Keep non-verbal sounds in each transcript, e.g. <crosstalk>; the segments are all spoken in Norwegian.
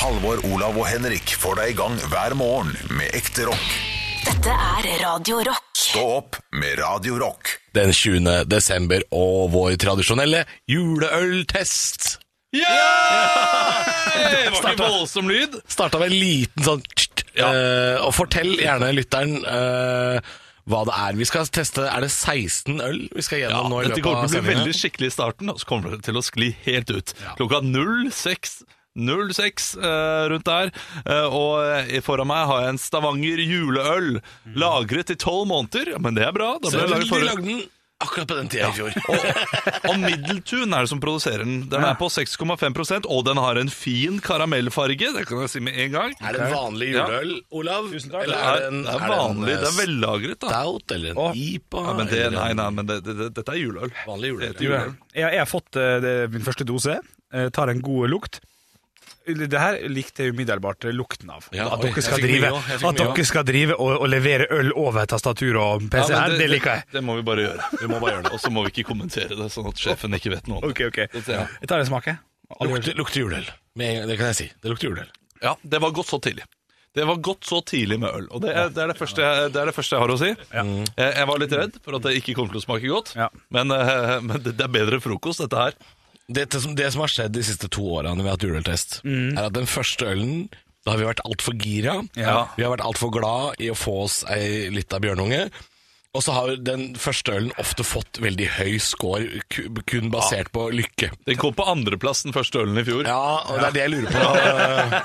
Halvor, Olav og Henrik får deg i gang hver morgen med ekte rock. Dette er Radio Rock. Stå opp med Radio Rock. den 20. desember og vår tradisjonelle juleøltest. Det var ikke voldsom lyd. Starta med en liten sånn tsk, eh, Og fortell gjerne lytteren eh, hva det er vi skal teste. Er det 16 øl vi skal Ja, gjennom nå i dette løpet kommer av til å bli veldig sendingen? skikkelig i starten, og så kommer det til å skli helt ut. Klokka 06. 06 eh, rundt der. Eh, og eh, foran meg har jeg en Stavanger juleøl lagret i tolv måneder. Men det er bra. Da ble Mm. Så det laget de forrige- lagde den akkurat på den tida i <laughs> fjor. Og, og Middeltun er det som produserer den. Den er på 6,5 og den har en fin karamellfarge. Det kan jeg si med en gang. Er det en vanlig juleøl, Olav? Det Eller er, er det en, det er vanlig. eh, Det er vellagret, da. stout eller en Å. IPA? Ja, men det, eller en- nei, nei, men det, det, det, dette er juleøl. Vanlig juleøl. Det heter juleøl. Jeg, jeg har fått eh, det, min første dose, eh, tar en god lukt. Det her likte jeg umiddelbart eh, lukten av. Ja, oi, at dere jeg skal fikk mye drive, også, jeg fikk mye at dere skal drive og, og levere øl over tastatur og Ja, PC men her, det liker jeg. Det, det må vi bare gjøre. Vi må bare gjøre det. Og så må vi ikke kommentere det, sånn at sjefen ikke vet noe om det. Ok, ok. Så sier jeg, Jeg tar en smak, jeg. Lukter, lukter juleøl. Med en gang- Det kan jeg si. Det lukter juleøl. Ja, det var godt så tidlig. Det var godt så tidlig med øl, og det er det, er det, første, jeg, det, er det første jeg har å si. Eh, Jeg, jeg var litt redd for at det ikke kommer til å smake godt, Ja. men, eh, men det, det er bedre frokost, dette her. Dette som, det som har skjedd de siste to årene når vi har hatt juleøltest, er at den første ølen da har vi vært altfor gira. Ja. Vi har vært altfor glad i å få oss ei lita bjørnunge. Og så har den første ølen ofte fått veldig høy score, ku- kun basert på lykke. Den kom på andreplass den første ølen i fjor. Ja, og det er det jeg lurer på. Fra,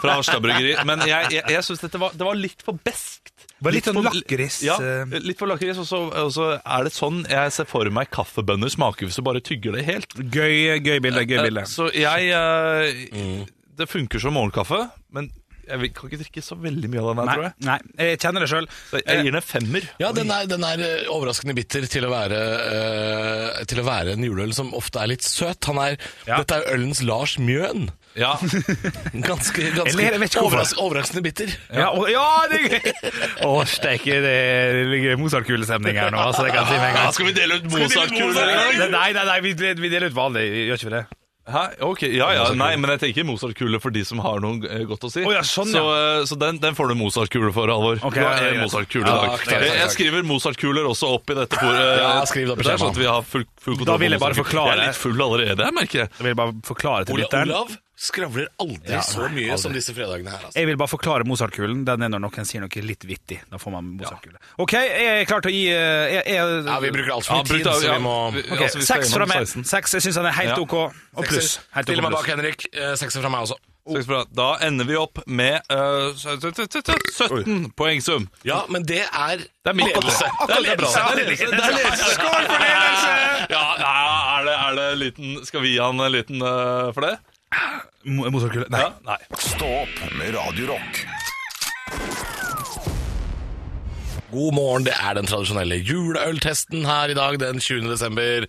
fra Harstad bryggeri. Men jeg, jeg, jeg syns dette var, det var litt for beskt. Var litt sånn for- lakris, Ja, eh. litt for lakris. Og så, og så er det sånn jeg ser for meg kaffebønner smaker hvis du bare tygger det helt. Gøy, gøy bilde, gøy bilde. Eh, Så jeg eh, Det funker som morgenkaffe, men jeg vil- kan ikke drikke så veldig mye av den her, Nei, tror jeg. nei, jeg kjenner det sjøl. Så jeg gir den en femmer. <laughs> Ja, den er, den er eh, overraskende bitter til å, være, eh, til å være en juleøl som ofte er litt søt. Han er, Ja. Dette er jo ølens Lars Mjøen. <laughs> Ja. Ganske, Eller, ganske jeg vet ikke hvorfor. overras overraskende bitter. Ja, og- ja det er gøy! Å, steike, det ligger Mozart-kulestemning her nå. Altså, det kan jeg si med en gang. Skal vi dele ut Nei, Mozart-kuler? nei, nei, vi, vi deler ut vanlig, gjør ikke vi det? Hæ? Ok, ja, ja, nei, men jeg tenker Mozart-kule for de som har noe eh, godt å si. Å, ja, sånn, ja. Så, eh, så den, den får du Mozart-kule for, Halvor. Ok, du har ja, ja, en greit. Mozart-kule i Ja, dag. takk, takk, jeg, takk. jeg skriver Mozart-kuler også opp i dette bordet. Ja, skriv det på Det er skjemaet. sånn at vi har full, full kontroll Da vil jeg på bare Mozart-kuler. forklare- Jeg er litt full allerede, jeg merker jeg. Jeg vil bare forklare til Ola, lytteren. Olav skravler aldri Ja, så nei, mye aldri. som disse fredagene her. Altså. Jeg vil bare forklare Mozart-kulen. Den er når noen sier noe litt vittig. Da får man Mozart-kule. OK, jeg er klar til å gi eh, jeg, jeg, Ja, vi bruker altfor Ja, mye tid, brukte- så ja, vi må vi- Ok, altså, vi skal Seks gjennom fra meg. 16. Seks, Jeg syns han er helt Ja. OK. Og pluss. Helt Stille OK meg bak, pluss. Henrik. Eh, Sekser fra meg også. Seks bra. Da ender vi opp med eh, sø- sø- sø- sø- 17 poengsum. Ja, men det er Det er mitt ledelse. Det er ledelse. Det er ledelse. Det er ledelse. Skål for ledelse! Ja, nei, er det, er det en liten, skal vi gi han en liten eh, for det? Mo- Mozart-kule. Nei. Ja? Nei. Stå opp med Radio Rock. God morgen, det er den tradisjonelle juleøltesten her i dag den 20. desember.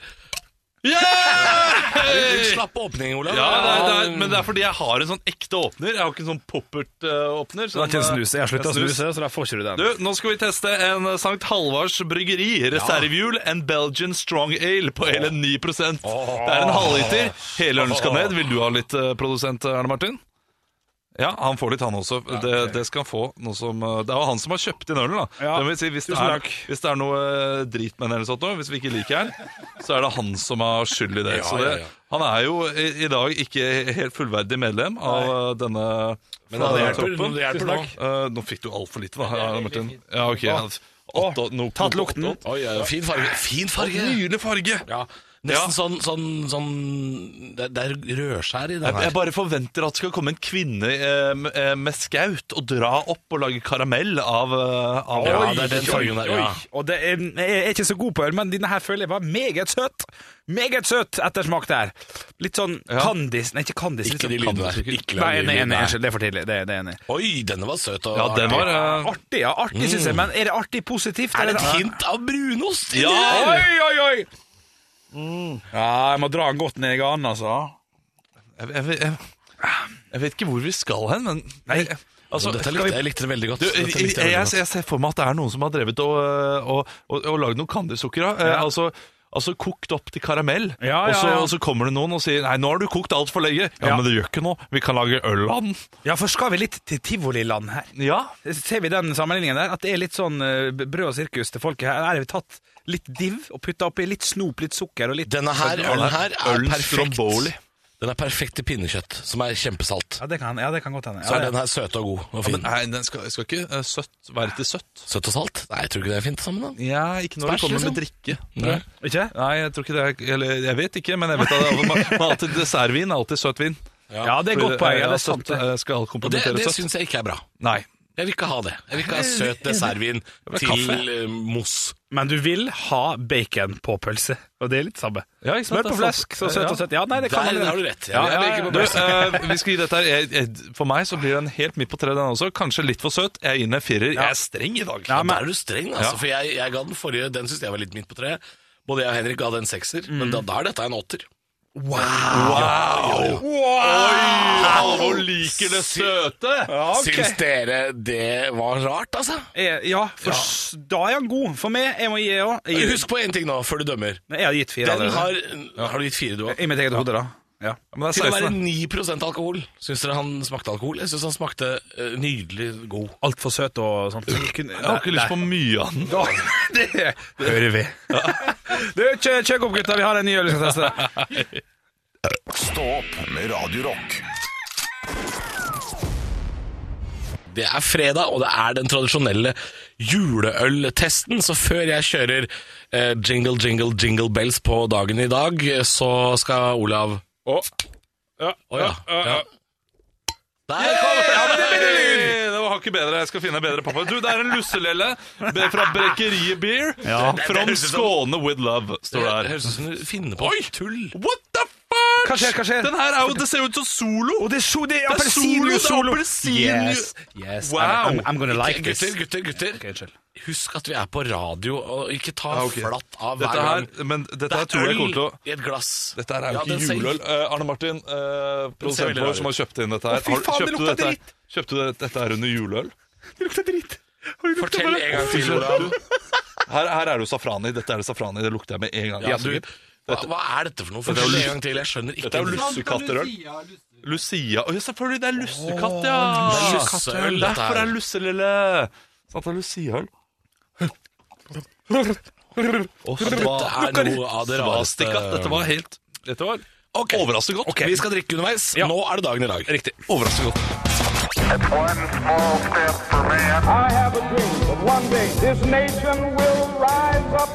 Yeah! Slapp åpning, Olav. Ja, det er, det er, men det er fordi jeg har en sånn ekte åpner. Jeg har ikke en sånn poppert-åpner. Det er ikke en snus. Jeg har slutta å snuse, så da får ikke du den. Du, nå skal vi teste en eh, Sankt Halvards bryggeri reservehjul. En Belgian Strong Ale på hele 9 Det er en halvliter. Hele ølen skal ned. Vil du ha litt, eh, produsent eh, Arne Martin? Ja, han får litt, han også. Det, det skal han få. Noe som, eh, det er jo han som har kjøpt inn ølen, da. Ja. Det vil si, hvis, det Tusen er, takk. hvis det er noe eh, drit med den, eller sånt, noe, hvis vi ikke liker den, så er det han som har skyld i det. Ja, så det ja, ja. han er jo i, i dag ikke helt fullverdig medlem av eh, denne Men det denne hjelper, troppen. det hjelper nå. Eh, nå fikk du altfor lite, da, Arne Martin. Ja, ok. Å, Åtte- no- tatt lukten. åtte- Oi, åtte- ja, fin farge. Fin farge. Nydelig farge! Ja, Ja. Nesten sånn, sånn, sånn Det det er rødskjær i den Jeg her. bare forventer at det skal komme en kvinne eh, m- eh, med skaut og dra opp og lage karamell av, eh, av Ja, Oi, det er den oi, fargen der. oi. Ja. Og det er, jeg er ikke så god på øl, men denne her føler jeg var meget søt. Meget søt ettersmak der. Litt sånn Ja. Candice Nei, ikke Candice. litt Ikke sånn de lydene der. Kan- Ikke Nei, lag de enig, enig, lydene der. unnskyld. Det er for tidlig. Det, det er enig. Oi, denne var søt og Ja, den var eh, Mm. Artig, ja. Artig, syns jeg. Men er det artig positivt? Er det eller? et hint av brunost? i Ja! det her? Oi, oi, oi! Mm. Ja, jeg må dra den godt ned i ganen, altså. jeg, jeg, jeg, jeg vet ikke hvor vi skal hen, men Nei. Altså, Dette skal vi- likte jeg- jeg likte det veldig godt. Du, Dette jeg, likte jeg, veldig jeg, godt. øh, ser for meg at det er noen som har drevet og, og, og, og lagd noe kandesukker av. Eh, altså, altså kokt opp til karamell. Ja, og, så, ja, ja. og så kommer det noen og sier 'nei, nå har du kokt altfor lenge'. Ja, Ja. men det gjør ikke noe. Vi kan lage øl av den. Ja, for skal vi litt til tivoliland her? Ja. Ser vi den sammenligningen der? At det er litt sånn eh, brød og sirkus til folket her. Her har vi tatt litt div og putta oppi litt snop, litt sukker og litt Denne her, ølen her er Ølen perfekt. stromboli. Den er perfekt til pinnekjøtt, som er kjempesalt. Ja, det kan, ja, det kan godt hende. Så Ja, er det- den her søt og god og fin. Nei, den skal, skal ikke eh, søtt være til søtt. Søt og salt? Nei, jeg tror ikke det er fint sammen, da. Ja, ikke Spæsj, når det kommer liksom. med drikke. Nei. Ikke? Nei, jeg tror ikke det er Eller jeg vet ikke, men jeg vet at man, man alltid dessertvin er alltid søt vin. Ja, det er et godt poeng. Ja, det er sant. Søtt, det. eh, skal Og det, komplimentere det søtt. syns jeg ikke er bra. Nei. Jeg vil ikke ha det. Jeg vil ikke ha søt dessertvin vil ha til kaffe. eh, mousse. Men du vil ha bacon på pølse, og det er litt samme. Ja, ikke sant, Smør det er på flesk, så sant. søt Ja. og søt. Ja, nei, det kan Der hende. har du rett. Jeg- Ja, jeg ja, liker ja. på Du, best. eh, vi skal gi dette her jeg, jeg, For meg så blir den helt midt på treet, den også. Kanskje litt for søt. Jeg er inne firer. Jeg er streng i dag. Ja, Ja, men, men- der er du streng, altså. Ja. For jeg, jeg ga den forrige, den syns jeg var litt midt på treet. Både jeg og Henrik ga den sekser, men da, da er dette en åtter. Oi, Halvor liker det søte! Ja, ok. Syns dere det var rart, altså? Eh, Ja, for s- da er han god. For meg, jeg må gi òg. Jeg, Husk på én ting nå, før du dømmer. jeg har gitt fire Den allerede. har, har du gitt fire, du òg? I mitt eget hode, da. Ja. Men det Til å er være 16. 9 alkohol. Syns dere han smakte alkohol? Jeg syns han smakte eh, nydelig god. Altfor søt og sånn. sånt. Kun- Jeg har ikke lyst på mye av den. <laughs> Da, det hører vi. Du, kjø- kjøk opp, gutta. Vi har en ny øl vi skal teste. Stå opp med Radio Rock. Det er fredag, og det er den tradisjonelle juleøltesten. Så før jeg kjører eh, jingle, jingle, jingle bells på dagen i dag, eh, så skal Olav Å ja. ja. Der kommer han! <laughs> Hey, Det var hakket bedre. Jeg skal finne bedre pappa. Du, det er en lusselelle be- fra Brekkeriet Beer. From Skåne with love, står det Det her. høres ut som du finner på tull. What the fuck? Hva skjer, hva skjer? Den her er jo, det ser jo ut som Solo. Og det er, so, det er Det er solo, det appelsinjuice er solo! appelsinjuice. yes. Wow. I'm, I'm, I'm gonna like this. Gutter, gutter, gutter. Ok, unnskyld. Husk at vi er på radio, og ikke ta Ja, Ah, ok. flatt av hver Dette her, gang. men dette Det her er tror jeg øl kommer til å i et glass. Dette her er jo Ja, den ikke ser- juleøl. Eh, Arne Martin, eh, veldig produsenten rar vår som har kjøpt inn dette her. fy Har- faen, det kjøpte du lukter dette her- dritt. Kjøpte du dette her under juleøl? Det lukter dritt. Oi, det lukter Fortell bare- en gang til, Olav. Her, her er det jo safran i. Dette er det safran i. Det lukter jeg med en gang. Ja, Altså, du, hva, hva er dette for noe? Dette er jo Fortell en lus- gang til, jeg skjønner ikke. Dette er jo lussekatterøl. Lucia Å ja, selvfølgelig! Det er lussekatt, ja! lusseøl, dette her. Derfor er lusselille Sant, det er luciaøl. Oh, Dette er noe av det rareste Dette var helt Dette var Ok. overraskende godt. Vi skal drikke underveis. Nå er det dagen i dag. Riktig. Overraskende godt. One small step for man. I have a dream that one day this nation will rise up.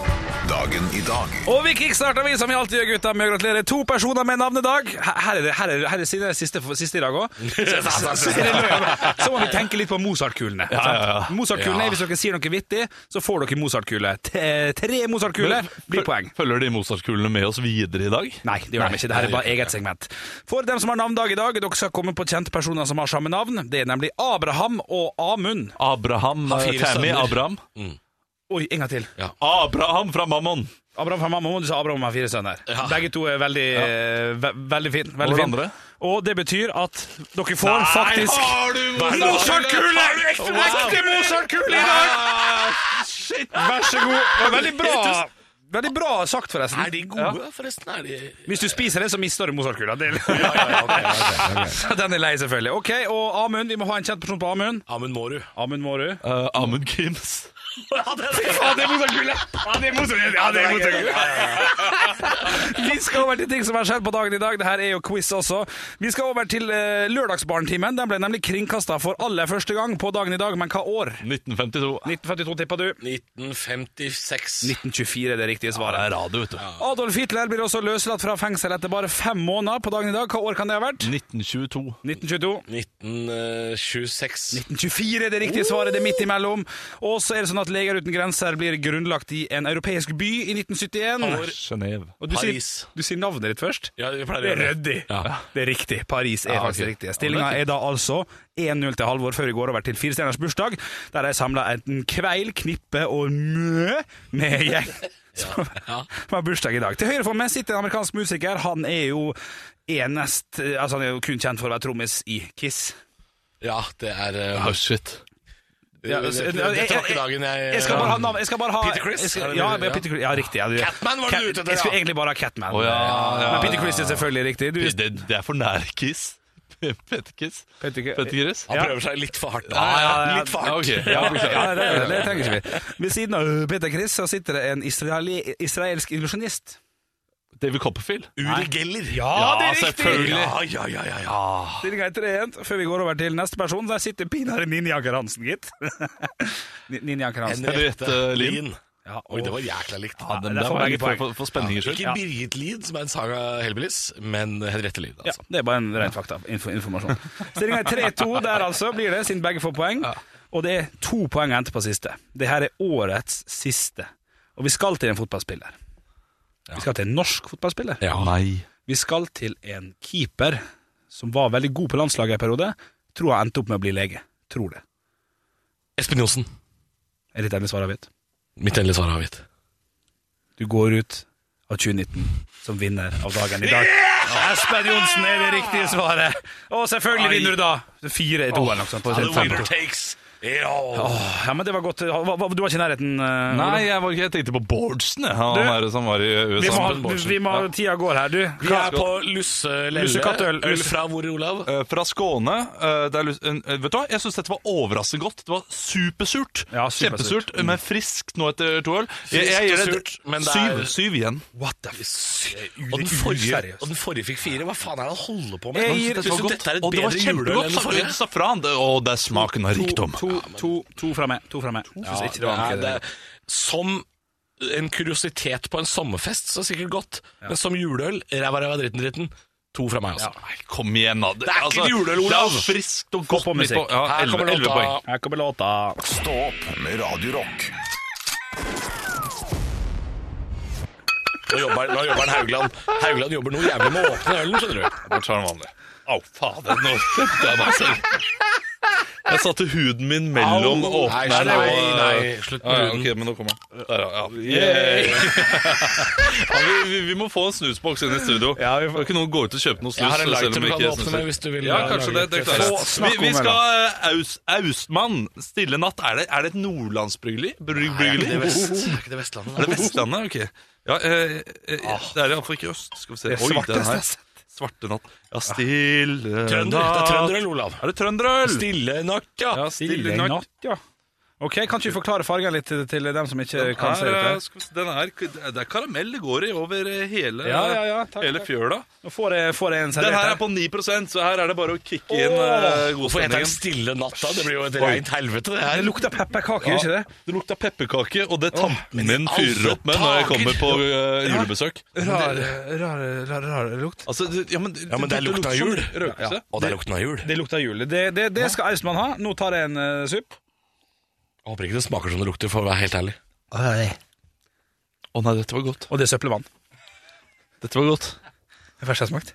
Dagen i dag. Og vi kickstarter, vi, som vi alltid gjør, gutta, med å gratulere to personer med navnedag. Her her er det, her er, her er siste, siste, siste i dag òg. <laughs> Så må vi tenke litt på Mozart-kulene. sant? Mozart-kulene, Ja. Hvis dere sier noe vittig, så får dere Mozart-kule. Te- Tre Mozart-kuler blir poeng. Følger de Mozart-kulene med oss videre i dag? Nei, det gjør de ikke. Dette er bare eget segment. For dem som har navnedag i dag, dere skal komme på kjente personer som har samme navn. Det er nemlig Abraham og Amund. Abraham Har fire eh, Tammy sønner. Abraham. Oi, en gang til. Abraham fra Mammon! Abraham fra Mammon, du sa Abraham har fire sønner. Ja. Begge to er veldig, eh, ve veldig fin. Og Veldig fin. hverandre. Og det betyr at dere får faktisk du Mozart-kule! Ekte Mozart-kule i dag! Shit! Vær så god. Det var Veldig bra. Veldig bra sagt, forresten. Er de gode, forresten? Er de Hvis du spiser det, så mister du Mozart-kula. Det- <laughs> ja, ja, ok, ok, <laughs> ok. Den er lei, selvfølgelig. Ok, og Amund, Vi må ha en kjent person på Amund. Amund Mårud. Amund Mårud. <laughs> Eh, Amund Kims. Ja, det er Mozart-kule! Ja, det er Mozart-kule. Ja, det er Mozart-kule. Vi skal over til ting som har skjedd på dagen i dag. Dette er jo quiz også. Vi skal over til eh, Lørdagsbarnetimen. Den ble nemlig kringkasta for aller første gang på dagen i dag, men hva år? 1952. 1952, tippa du. 1956. 1924 er det riktige Det svaret. er radio, vet du. Adolf Hitler blir også løslatt fra fengsel etter bare fem måneder på dagen i dag. Hva år kan det ha vært? 1922. 1922. 1926. 1924 er det riktige svaret, det er midt imellom. Og så er det sånn at Leger uten grenser blir grunnlagt i en europeisk by i 1971. Genève. Og du Paris. sier, du sier navnet ditt først. Ja, vi pleier å Det er gjøre det. ryddig. Ja. Det er riktig. Paris er Ja, faktisk ok. det riktige. Stillinga er da altså 1-0 til Halvor før vi går over til Firestjerners bursdag, der de samla enten kveil, knippe og mø med gjeng. Som som har bursdag i dag. Til høyre for meg sitter en amerikansk musiker. Han er jo enest Altså, han er jo kun kjent for å være trommis i Kiss. Ja, det er eh, shit. Ja, altså, Dette jeg- var ikke dagen jeg Jeg skal bare ha navn Jeg skal bare ha Peter Criss? jeg skal- Er det Ja, det- ja, Peter Criss. Ja, riktig. Ja, du- Catman var det Cat- du ute etter, Jeg skulle ja. egentlig bare ha Catman. Å, ja, ja, Men Peter ja, Criss er selvfølgelig riktig. Du, Det, det er for nær Kiss. <laughs> Pettekiss. Petter- Pettegris. Han Ja. prøver seg litt for hardt. da. ja, ja. Litt for Ja, hardt. ok. ja, ja, det, det, det trenger ikke vi. Ved siden av Peter Criss så sitter det en israeli, israelsk illusjonist. David Copperfield. Uri Geller. Ja, det er riktig! selvfølgelig. Ja, ja, ja, ja, ja. Stillinga er 3-1. Før vi går over til neste person, der sitter pinadø Ninja Anker Hansen, gitt. Ni- Ninja Anker Hansen. Henriette Lien. Ja, Oi, det og- var jækla likt. Ja, det- Den det der får var begge litt for, poeng. for, for spenningens skyld. Ikke Birgit Lien, som er en sang av Hellbillies, men Henriette Lien. Ja, Altså. det er bare en ren fakta. Info, informasjon. Stillinga er 3-2 der, altså, blir det, siden begge får poeng. Og det er to poeng å hente på siste. Det her er årets siste. Og vi skal til en fotballspiller. Vi skal til en norsk fotballspiller. Nei. Vi skal til en keeper som var veldig god på landslaget i en periode. Tror han endte opp med å bli lege. Tror det. Espen Johnsen. Er det det svaret jeg vet? Mitt endelige svar er avgitt. Du går ut av 2019 som vinner av dagen i dag. Espen Johnsen er det riktige svaret. Og selvfølgelig vinner du da. Fire i to eller noe sånt. på fem på to. takes it all. Åh, Ja, men det var godt. Hva- hva- Du var ikke i nærheten? eh, Nei, Olav? jeg, var ikke, jeg tenkte på Bårdsen, jeg. han Du, der som var i Vi må, USA. ha- du- vi må ha- Tida går her, du. Vi er på Lusselelle. Øl Lussekattøl. Lusse- fra hvor, Olav? Eh, Fra Skåne. eh, Det er, lus- en- eh, vet du hva? Jeg syns dette var overraskende godt. Det var supersurt. Ja, supersurt. Mm. Kjempesurt, men friskt nå etter to øl. Jeg, Friskt jeg gir og det surt, men det er- syv, syv igjen. What the f... Og den, forrige, useriøst. og den forrige fikk fire. Hva faen er det han holder på med? Jeg Han gir- synes Det var jo godt, dette er et og det var bedre juleøl enn kjempegodt den sa- forrige. safran. Det- Å, det er smaken av rikdom. To, to, to fra meg. To fra meg. Synes ikke det var Ja, ordentlig, det det. er, som en kuriositet på en sommerfest, så sikkert godt. Men som juleøl, ræva, ræva, dritten, dritten. To fra meg altså. også. Nei, kom igjen, da. Altså, Det er ikke juleøl, Det Olav. er jo friskt og godt. på midt musikk. Ja, Her kommer 11, 11 låta. poeng. Her kommer låta. Stå opp med Radio Rock. Nå jobber, nå jobber han Haugland. Haugland jobber noe jævlig med å åpne ølen, skjønner du. Bare ta den vanlige. sånn Au, fader. Nå <laughs> kjente jeg meg selv. Jeg satte huden min Au, mellom nei, åpneren nei, og nei, slutt med Ja, ja, huden. ok, men nå kommer jeg. Der, ja. ja. ja vi, vi, vi må få en snusboks inn i studio. Ja, vi vi får- får ikke noen gå ut og kjøpe noe snus. Jeg har en selv om lighter du vi kan ikke åpne snuser. med hvis du vil. Ja, eh, kanskje det. lage det et klarer fest. jeg. Vi, vi skal eh, Aus, Austmann. Stille natt. Er det, er det et nordlandsbryggeri? Bryg- Er ikke det bryggeri? vest- er ikke det Vestlandet? Er det Vestlandet? Ok. Ja, eh, eh, det er iallfall ikke øst. Skal vi se. Det er Oi, svarte den her. stress. Svarte natt. Ja, stille Trønder. Det er natt. trønderøl, Olav. Er det trønderøl? Stille natt, ja. Ja, Stille natt, ja. Ok, Kan ikke du forklare fargen litt til, til dem som ikke kan se Her, eh, dette? skal vi se, den er, det er karamell det går i over eh, hele, Ja, ja, ja, takk, hele takk. fjøla. Nå får jeg, får jeg en Den servert her her. er på 9 så her er det bare å kicke inn eh, Hvorfor heter den godstemningen. Stille natt, da? Det blir jo et rent helvete, det Det her. lukter pepperkake, gjør ikke det? Det lukter pepperkake, og det tanten min alle fyrer opp med når jeg dager! kommer på eh, julebesøk. Rar, rar, rar, rar lukt. Altså, det- ja, men, Ja, men det er lukten av lukter jul. som Røkelse. Og det er lukten av jul. Det lukter jul. Det, det, det skal Austmann ha. Nå tar jeg en eh, supp. Jeg håper ikke det smaker som det lukter, for å være helt ærlig. Å nei, dette var godt. Og det er søppelvann. Dette var godt. Det første jeg har smakt.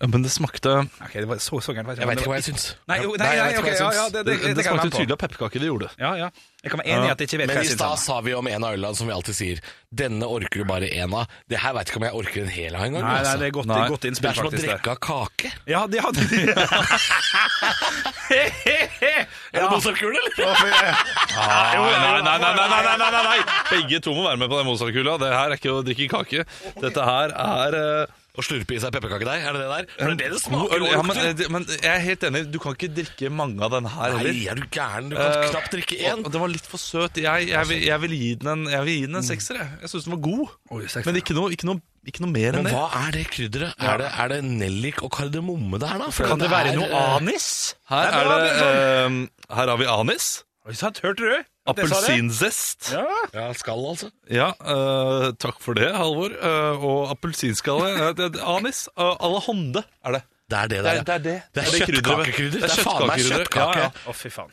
Ja, men det smakte Ok, det var så, så gærent. Jeg vet ikke hva jeg syns. Nei, jo, nei, Nei, jeg nei, vet ikke ok, hva jeg ja, syns. ja, det, det, Det, det, det kan jeg smakte være med på. tydelig av pepperkake det gjorde. Ja, ja. Jeg kan være enig i at jeg ikke vet hva Men i jeg stad syns. sa vi om en av ølene som vi alltid sier Denne orker du bare en av. Det her veit ikke om jeg orker en hel av engang. Nei, nei, altså. det er godt, Nei. godt Det innspill, er som å faktisk. det. drikke av kake. Ja, de hadde <laughs> Er det Mozart-kule, eller? Nei, nei, nei, nei, nei, nei, nei, nei, nei. Begge to må være med på den Mozart-kula. Det her er ikke å drikke kake. Dette her er eh, Å slurpe i seg pepperkakedeig, er det det der? For det er det det god smaker øl. og Ja, men, eh, lukter. det- men jeg er helt enig, du kan ikke drikke mange av denne her Nei, heller. er du gæren? Du kan Eh, knapt drikke og- én. og Den var litt for søt. Jeg, jeg, vil, jeg, vil, gi den en, jeg vil gi den en sekser. Jeg, jeg syns den var god, men ikke noe, ikke noe, ikke noe mer enn Men det. hva er det krydderet? Er det, er det nellik og kardemomme der, da? For Kan det være er, noe eh, anis? Her, Nei, er men det, eh, her har vi anis. Oi, sant, hørte du? At jeg sa det? Appelsinzest. Ja. Ja, skall, altså. Ja, eh, takk for det, Halvor. Eh, og appelsinskalle. eh, det- det- Anis. Uh, à la Honde er det. Det er det Det der, er ja. det. Er det. Det er det krydderet. kjøttkakekrydder. Det er faen meg kjøttkakekrydder. kjøttkake. Ja, ja. Å, fy faen.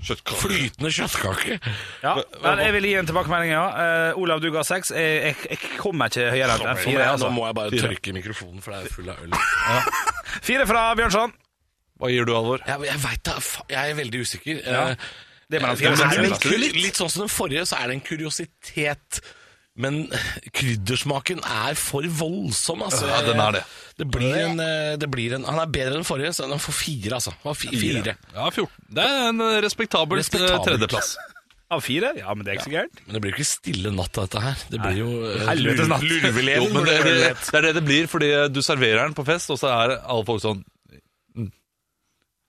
Flytende kjøttkake. Ja, men jeg vil gi en tilbakemelding, ja. Eh, Olav, du ga seks. Jeg, jeg, jeg kommer ikke høyere enn fire. Nå Altså. må jeg bare Fire. tørke mikrofonen, for det er full av øl. Fire fra Bjørnson. Hva gir du, Halvor? Jeg, jeg veit da fa- Jeg er veldig usikker. Eh, Det er mellom Ja, fire men og det seks. jeg er vil si. litt, litt sånn som den forrige, så er det en kuriositet. Men kryddersmaken er for voldsom, altså. Ja, den er det. Det blir en, eh, det blir en, han er bedre enn forrige, så han får fire, altså. Han får fi- fire. Ja, 14. Det er en eh, respektabel, eh, Respektabelt. tredjeplass. Av fire? Ja, men det er ikke så gærent. Men det blir jo ikke stille natt av dette her. Det blir jo eh, Helvetes natt. Jo, men det, det, Lurveleden. det er det det blir, fordi eh, du serverer den på fest, og så er alle folk sånn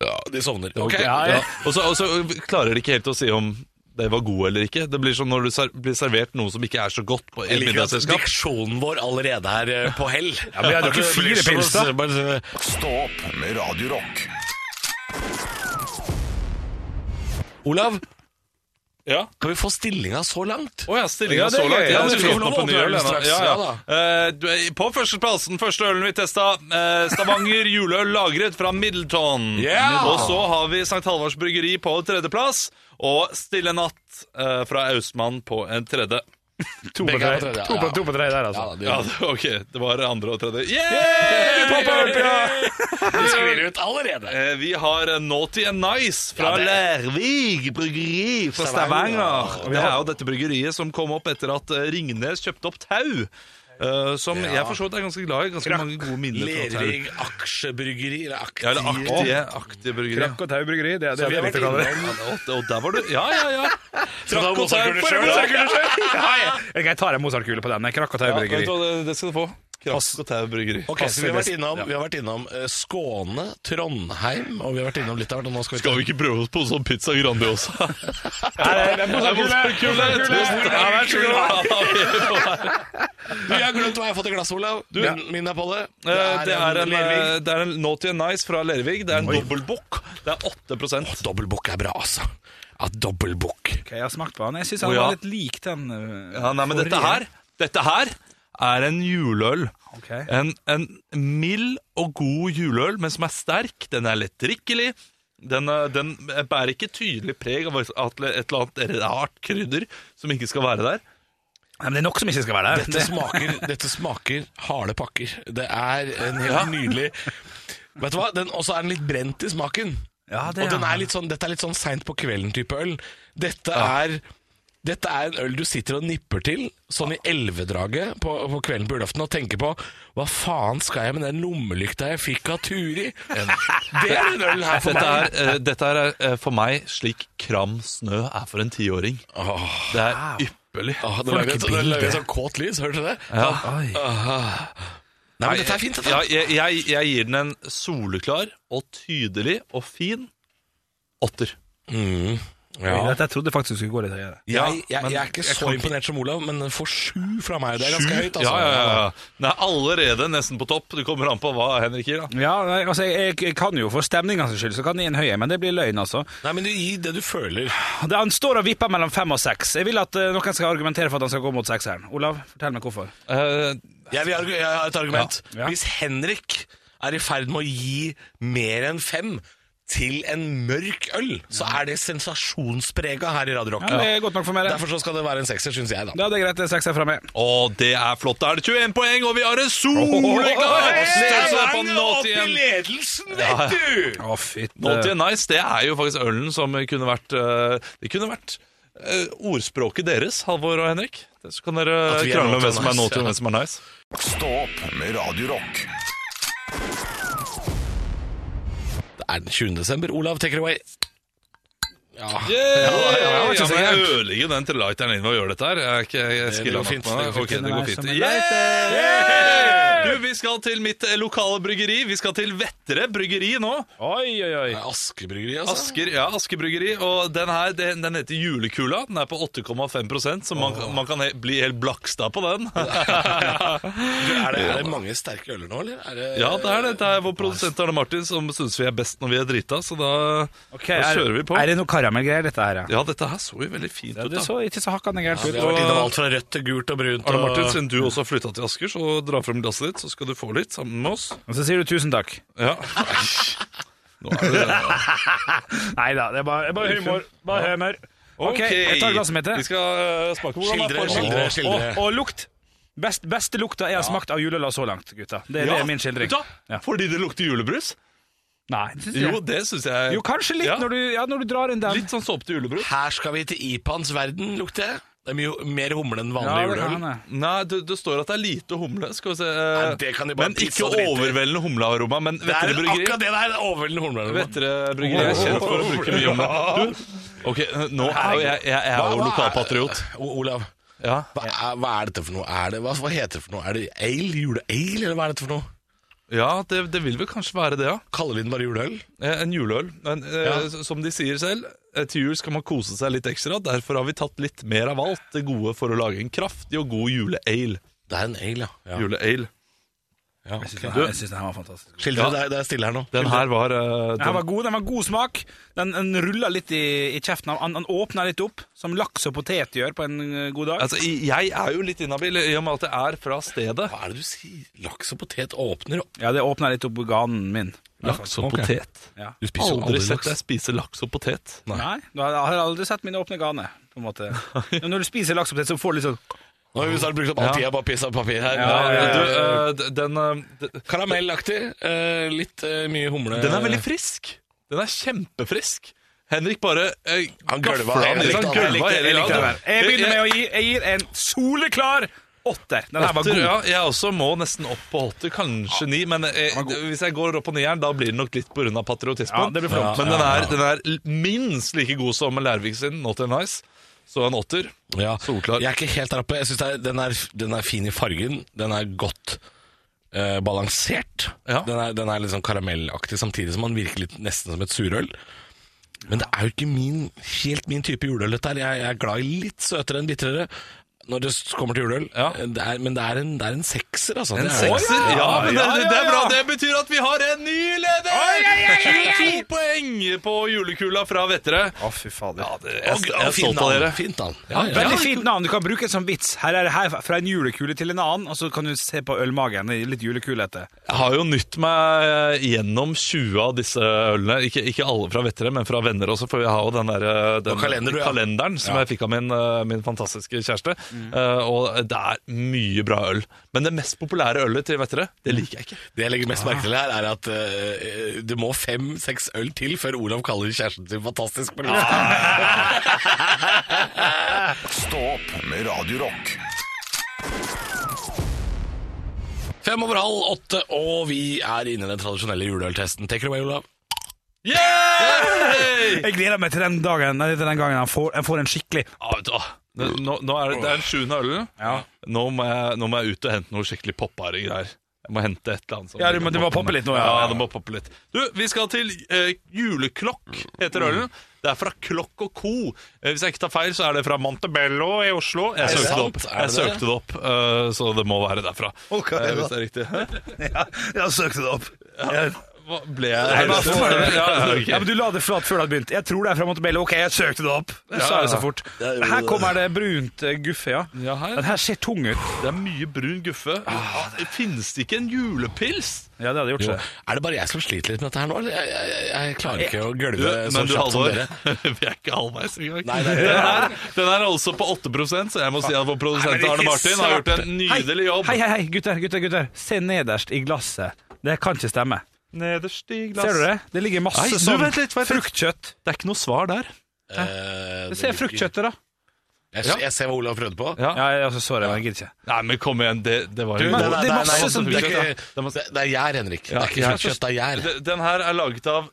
Ja, de sovner. Ok. ja, ja. ja. og, så, og så klarer de ikke helt å si om det var god eller ikke. Det blir som når du ser, blir servert noe som ikke er så godt på et Jeg liker at middagsselskap. diksjonen vår allerede er eh, på hell. Ja, men vi hadde jo ikke fire pils, da. Stå opp med Radio Rock. Olav, Ja. kan vi få stillinga så langt? Å ja, stillinga Ja, det er så langt. gøy. Ja, Ja, du du skal få lov å åpne opp en ny åpne øl ølen ennå. straks. Ja, ja. Ja, Eh, du er på førsteplassen, første ølen vi testa. eh, Stavanger juleøl lagret fra Middleton. Ja! Og så har vi St. Halvards Bryggeri på tredjeplass. Og Stille natt eh, fra Austmann på en tredje. To på Begge tre. er på tredje, To ja, på, ja. to på tre der, altså. Ja, det, Ja, <laughs> det- ok, det var andre og tredje. Yeah! Pop-up, ja! det sklir ut allerede. Eh, Vi har eh, Naughty and Nice fra Ja, det- Lærvik bryggeri fra Stavanger. Stavanger. Det er jo dette bryggeriet som kom opp etter at eh, Ringnes kjøpte opp Tau. eh, som jeg for så vidt er ganske glad i. Ganske mange gode minner fra Tau. Lerring aksjebryggeri, eller aktie. Ja, eller aktige, aktige bryggeri. Krakk og Tau bryggeri, det er det vi jeg har likte å vært kalle det. Ja, og- Og der var du Ja, ja, ja. Trakk og Tau tau for for øvrig. Ja, jeg, jeg tar en Mozart-kule på den. jeg. Krakk og Tau Ja, vet bryggeri. du hva, det- Det skal du få. Krakk og Tau bryggeri. Ok, så vi har vært innom, vi har vært innom eh, Skåne, Trondheim, og vi har vært innom litt av hvert. og Nå skal vi, Skal vi ikke prøve oss på sånn pizza Grandiosa? Du, jeg har glemt hva jeg har fått i glasset, Olav. min, min er på det. Eh, Det er en, eh, Lervig. det er en Naughty and Nice fra Lervig. Det er en dobbeltbukk. Det er 8 Dobbeltbukk er bra, altså. Ja, dobbeltbukk. Ok, jeg har smakt på den. Jeg syns den Å, ja. var litt lik den. øh, Ja, nei, men dette her, forrige. dette her er en juleøl. Ok. En, en mild og god juleøl, men som er sterk. Den er lett drikkelig. Den, eh, den bærer ikke tydelig preg av at et eller annet rart krydder som ikke skal være der. Nei, men det er nok som ikke skal være der. Dette smaker, dette smaker harde pakker. Det er en helt nydelig Vet du hva? Den også er den litt brent i smaken. Ja, det Og den er- er litt sånn, dette er litt sånn seint på kvelden-type øl. Dette er dette er en øl du sitter og nipper til sånn i elvedraget på, på kvelden på julaften og tenker på Hva faen skal jeg med den lommelykta jeg fikk av Turi? Det er en øl her for Dette meg. er, eh, dette er eh, for meg slik kram snø er for en tiåring. Det er ypperlig. Åh, det lager det lager en sånn kåt lys, hørte du det? Ja. Nei, men dette er fint. Dette. Ja, jeg, jeg, jeg gir den en soleklar og tydelig og fin åtter. Ja. Ja. Dette jeg trodde faktisk skulle gå litt høyere. Jeg, jeg, men jeg er ikke jeg så kan ikke- imponert som Olav, men den får sju fra meg. Det er ganske Sju? høyt. Altså. Mm. Ja, ja, ja. Den er allerede nesten på topp. Det kommer an på hva Henrik gir, da. Ja, nei, altså, jeg, jeg kan jo for stemningens skyld så kan jeg gi en høy, men det blir løgn, altså. Nei, men du gir det du føler. Det, han står og vipper mellom fem og seks. Jeg vil at eh, noen skal argumentere for at han skal gå mot sekseren. Olav, fortell meg hvorfor. Eh, Jeg, vil, argu- jeg har et argument. Ja, ja. Hvis Henrik er i ferd med å gi mer enn fem til en mørk øl, så er det sensasjonsprega her i Radio Rock. Ja, det er godt nok for meg, det. Derfor så skal det være en sekser, syns jeg, da. Da er det greit, det er sekser fra meg. og det er flott. Da er det 21 poeng, og vi har en soleklar ledelse på Naughty opp i and- ledelsen, vet du! Å, fytte. Naughty and Nice. Det er jo faktisk ølen som kunne vært eh, Det kunne vært eh, ordspråket deres, Halvor og Henrik. Så kan dere At vi er krangle om hvem naughty and nice, ja. som er naughty og hvem som er nice. Stå opp med Radio Rock. Det er den 20. desember. Olav, take it away. Ja. Ja, ikke så men jeg gærent. ødelegger jo den til lighteren din ved å gjøre dette her. Jeg er ikke jeg det går skilla nok fint, på det går Ok, fint. det Nei, går fint. som en Yeah! Du, vi skal til mitt eh, lokale bryggeri. Vi skal til Vettere bryggeri nå. Oi, oi, oi. Askebryggeri, altså. Asker, ja, Asker bryggeri. Og den her, den, den heter Julekula. Den er på 8,5 så man, man kan he bli helt blakstad på den. Er det, er det mange sterke øler nå, eller? Er det, <laughs> ja, det er det. Det er vår produsent Arne Martin som syns vi er best når vi er drita, så da, Ok, da er- kjører vi på. Er det noe karamellgreier, dette her? Ja? Ja, dette her så jo veldig fint Ja, ut, det da. så ikke så hakkande gærent Vi ut. har vært og- innom alt fra rødt til gult og brunt. Arne Martin, og... siden du også har flytta til Asker, så dra frem glasset ditt, så skal du få litt sammen med oss. Og så sier du tusen takk. Ja. Nå er det det. Nei da, det er bare, det er bare humor. Bare humor. <laughs> Ok, jeg tar glasset mitt. jeg. Vi skal eh, smake på hvordan det Skildre, er skildre. formen. Og, og lukt. Best, beste lukta jeg har smakt av juleøl så langt, gutta. Det, det Ja, er min skildring. Da, Ja. Fordi det lukter julebrus? Nei, det synes Jo, jeg. det syns jeg. Jo, kanskje litt Ja. når, du, ja, når du drar inn den. Litt sånn såpete julebrus. Her skal vi til IPANs verden, lukter jeg. Det er mye mer humle enn Ja, vanlig det kan juleøl. jeg. Nei, det, det står at det er lite humle. Skal vi se eh, Nei, det kan de bare Men pisse ikke og drite i. overveldende humlearoma. Men Det er Vettere Bryggeri akkurat det der! Overveldende humle. Vettere bryggeri er kjent for å bruke mye humle. Du, ok, eh, nå er jo jeg, jeg, jeg er jo lokalpatriot. O- Olav, Ja. hva er, hva er dette for noe? Er det, hva, hva heter det for noe? Er det ale? Juleale, eller hva er dette for noe? Ja, det, det vil vel kanskje være det, ja. Kaller vi den bare juleøl? Eh, En juleøl. Men eh, Ja. s- som de sier selv, eh, til jul skal man kose seg litt ekstra. Derfor har vi tatt litt mer av alt det gode for å lage en kraftig og god juleale. Det er en ale, ja. ja. Juleale. Jeg syns den her- jeg syns den her var fantastisk. Skildre, det, er, det er stille her nå. Den her var eh, Den her den, var god, den var god smak. Den, den rulla litt i, i kjeften. Han, han åpna litt opp, som laks og potet gjør på en eh, god dag. Altså, i- jeg er jo litt inhabil i og med at jeg er fra stedet. Hva er det du sier? Laks og potet åpner opp. Ja, det åpna litt opp ganen min. Laks og Ok. potet. Ja. Du spiser jo Aldri aldri sett deg laks. spise laks og potet. Nei, du har, har aldri sett mine åpne gane. På en <laughs> måte. Men Når du spiser laks og potet, så får du litt sånn Nå har vi snart brukt opp all Ja. tida på piss og papir her. Ja, ja, ja. Du, eh, d- den, eh, d- Karamellaktig. eh, litt eh, mye humle. den er veldig frisk. Den er kjempefrisk. Henrik bare eh, liksom. Han gafla gølva den i hele seg. gata. Han Jeg gølva likte, jeg hele likte det gata. der. Jeg begynner med å gi Jeg gir en soleklar åtter. Den her var Åtter, god. ja, jeg også må nesten opp på åtter, kanskje ni. Men eh, hvis jeg går opp på nieren, da blir det nok litt pga. patriotismen. Ja, det blir flott. Men den er, den er l- minst like god som Lærvik sin, Not in Nice. Så en åtter. Ja. Solklar. Jeg er ikke helt der oppe. Jeg synes det er, den, er, den er fin i fargen. Den er godt eh, balansert. Ja. Den, er, den er litt sånn karamellaktig, samtidig som man virker litt nesten som et surøl. Men det er jo ikke min, helt min type juleøl, dette her. Jeg, jeg er glad i litt søtere enn bitrere. Når det s- kommer til juleøl. Eh, Ja. Det er, men det er, en, det er en sekser, altså. En Det er- sekser? Ja, men det, ja, det, det er ja, bra. ja. Det betyr at vi har en ny leder! 22 poeng på julekula fra Vettere. Å, fy fader. Ja, det, Og, jeg, jeg og er fint stolt av navn. dere. Fint navn. Veldig fint navn. Du kan bruke det som vits. Her er det her fra en julekule til en annen, og så kan du se på ølmagen. Det er Litt julekulete. Jeg har jo nytt meg eh, gjennom 20 av disse ølene. Ikke, ikke alle fra vettere, men fra venner også, for jeg har jo den, der, eh, den Og kalender, du, ja. Mm. kalenderen som jeg fikk av min, eh, min fantastiske kjæreste. Eh, og det er mye bra øl. Men det mest populære ølet til vettere, det Mm. liker jeg ikke. Det jeg legger mest Ah. merke til her, er at eh, det må fem-seks øl til før Olav kaller kjæresten sin fantastisk på lufta. Stå opp med Radio Rock. Fem over halv åtte, og vi er inne i den tradisjonelle juleøltesten. Take it away, Olav. Yeah! Jeg gleder meg til den dagen Nei, til den gangen han får, jeg får en skikkelig Ja, Ah, vet du, åh, det- nå, nå er det, det er den sjuende ølen. Nå, må jeg, nå må jeg ut og hente noe skikkelig poppare greier. Jeg må hente et eller annet. som- Ja, du må- du må poppe litt nå, ja. ja. ja du må poppe litt. Du, vi skal til eh, Juleklokk, Mm. heter ølen. Det er fra Klokk og Co. Eh, hvis jeg ikke tar feil, så er det fra Montebello i Oslo. Jeg Er det søkte det sant? opp, Er det jeg det? søkte det opp eh, så det må være derfra. Eh, hvis det er riktig. Hæ? <laughs> Jeg søkte det opp. Hva ble jeg hva for det? Ja, ja, ok. Ja, men Du la det flat før du hadde begynt. Jeg tror det er fra Montebello. Ok, jeg søkte det opp. Du Ja, sa det ja. så fort. Her kommer det brunt eh, guffe, ja. Ja, her. Den her ser tung ut. Det er mye brun guffe. Ah, Finnes det ikke en julepils? Ja, det hadde gjort Jo. seg. Er det bare jeg som sliter litt med dette her nå? eller? Jeg, jeg, jeg, jeg klarer ikke å Du, Eh, gølve så men kjapt du, som Halvor, dere. <laughs> vi er ikke halvveis engang. Nei, det er- den, her, den her er også på 8 så jeg må si at vår produsent Nei, men Arne ikke Martin har gjort en Hei. nydelig jobb. Hei, hei, hei, gutter, gutter, gutter. Se nederst i glasset. Det kan ikke stemme. Nederst i glass. Ser du det? Det ligger masse Nei, du, sånn vent litt, vent litt. fruktkjøtt. Det er ikke noe svar der. Eh, det Se ligger- fruktkjøttet, da. Jeg, jeg ser hva Olav prøvde på. Ja. Ja, jeg, altså, sorry, men jeg gidder ikke. Nei, men kom igjen, det, det var Du, jo Men nei, nei, det er nei, masse nei, som det er dukker ikke- det er- Det er gjær, Henrik. Det Ja, er ikke ja. kjøtt, det er gjær. D- Den her er laget av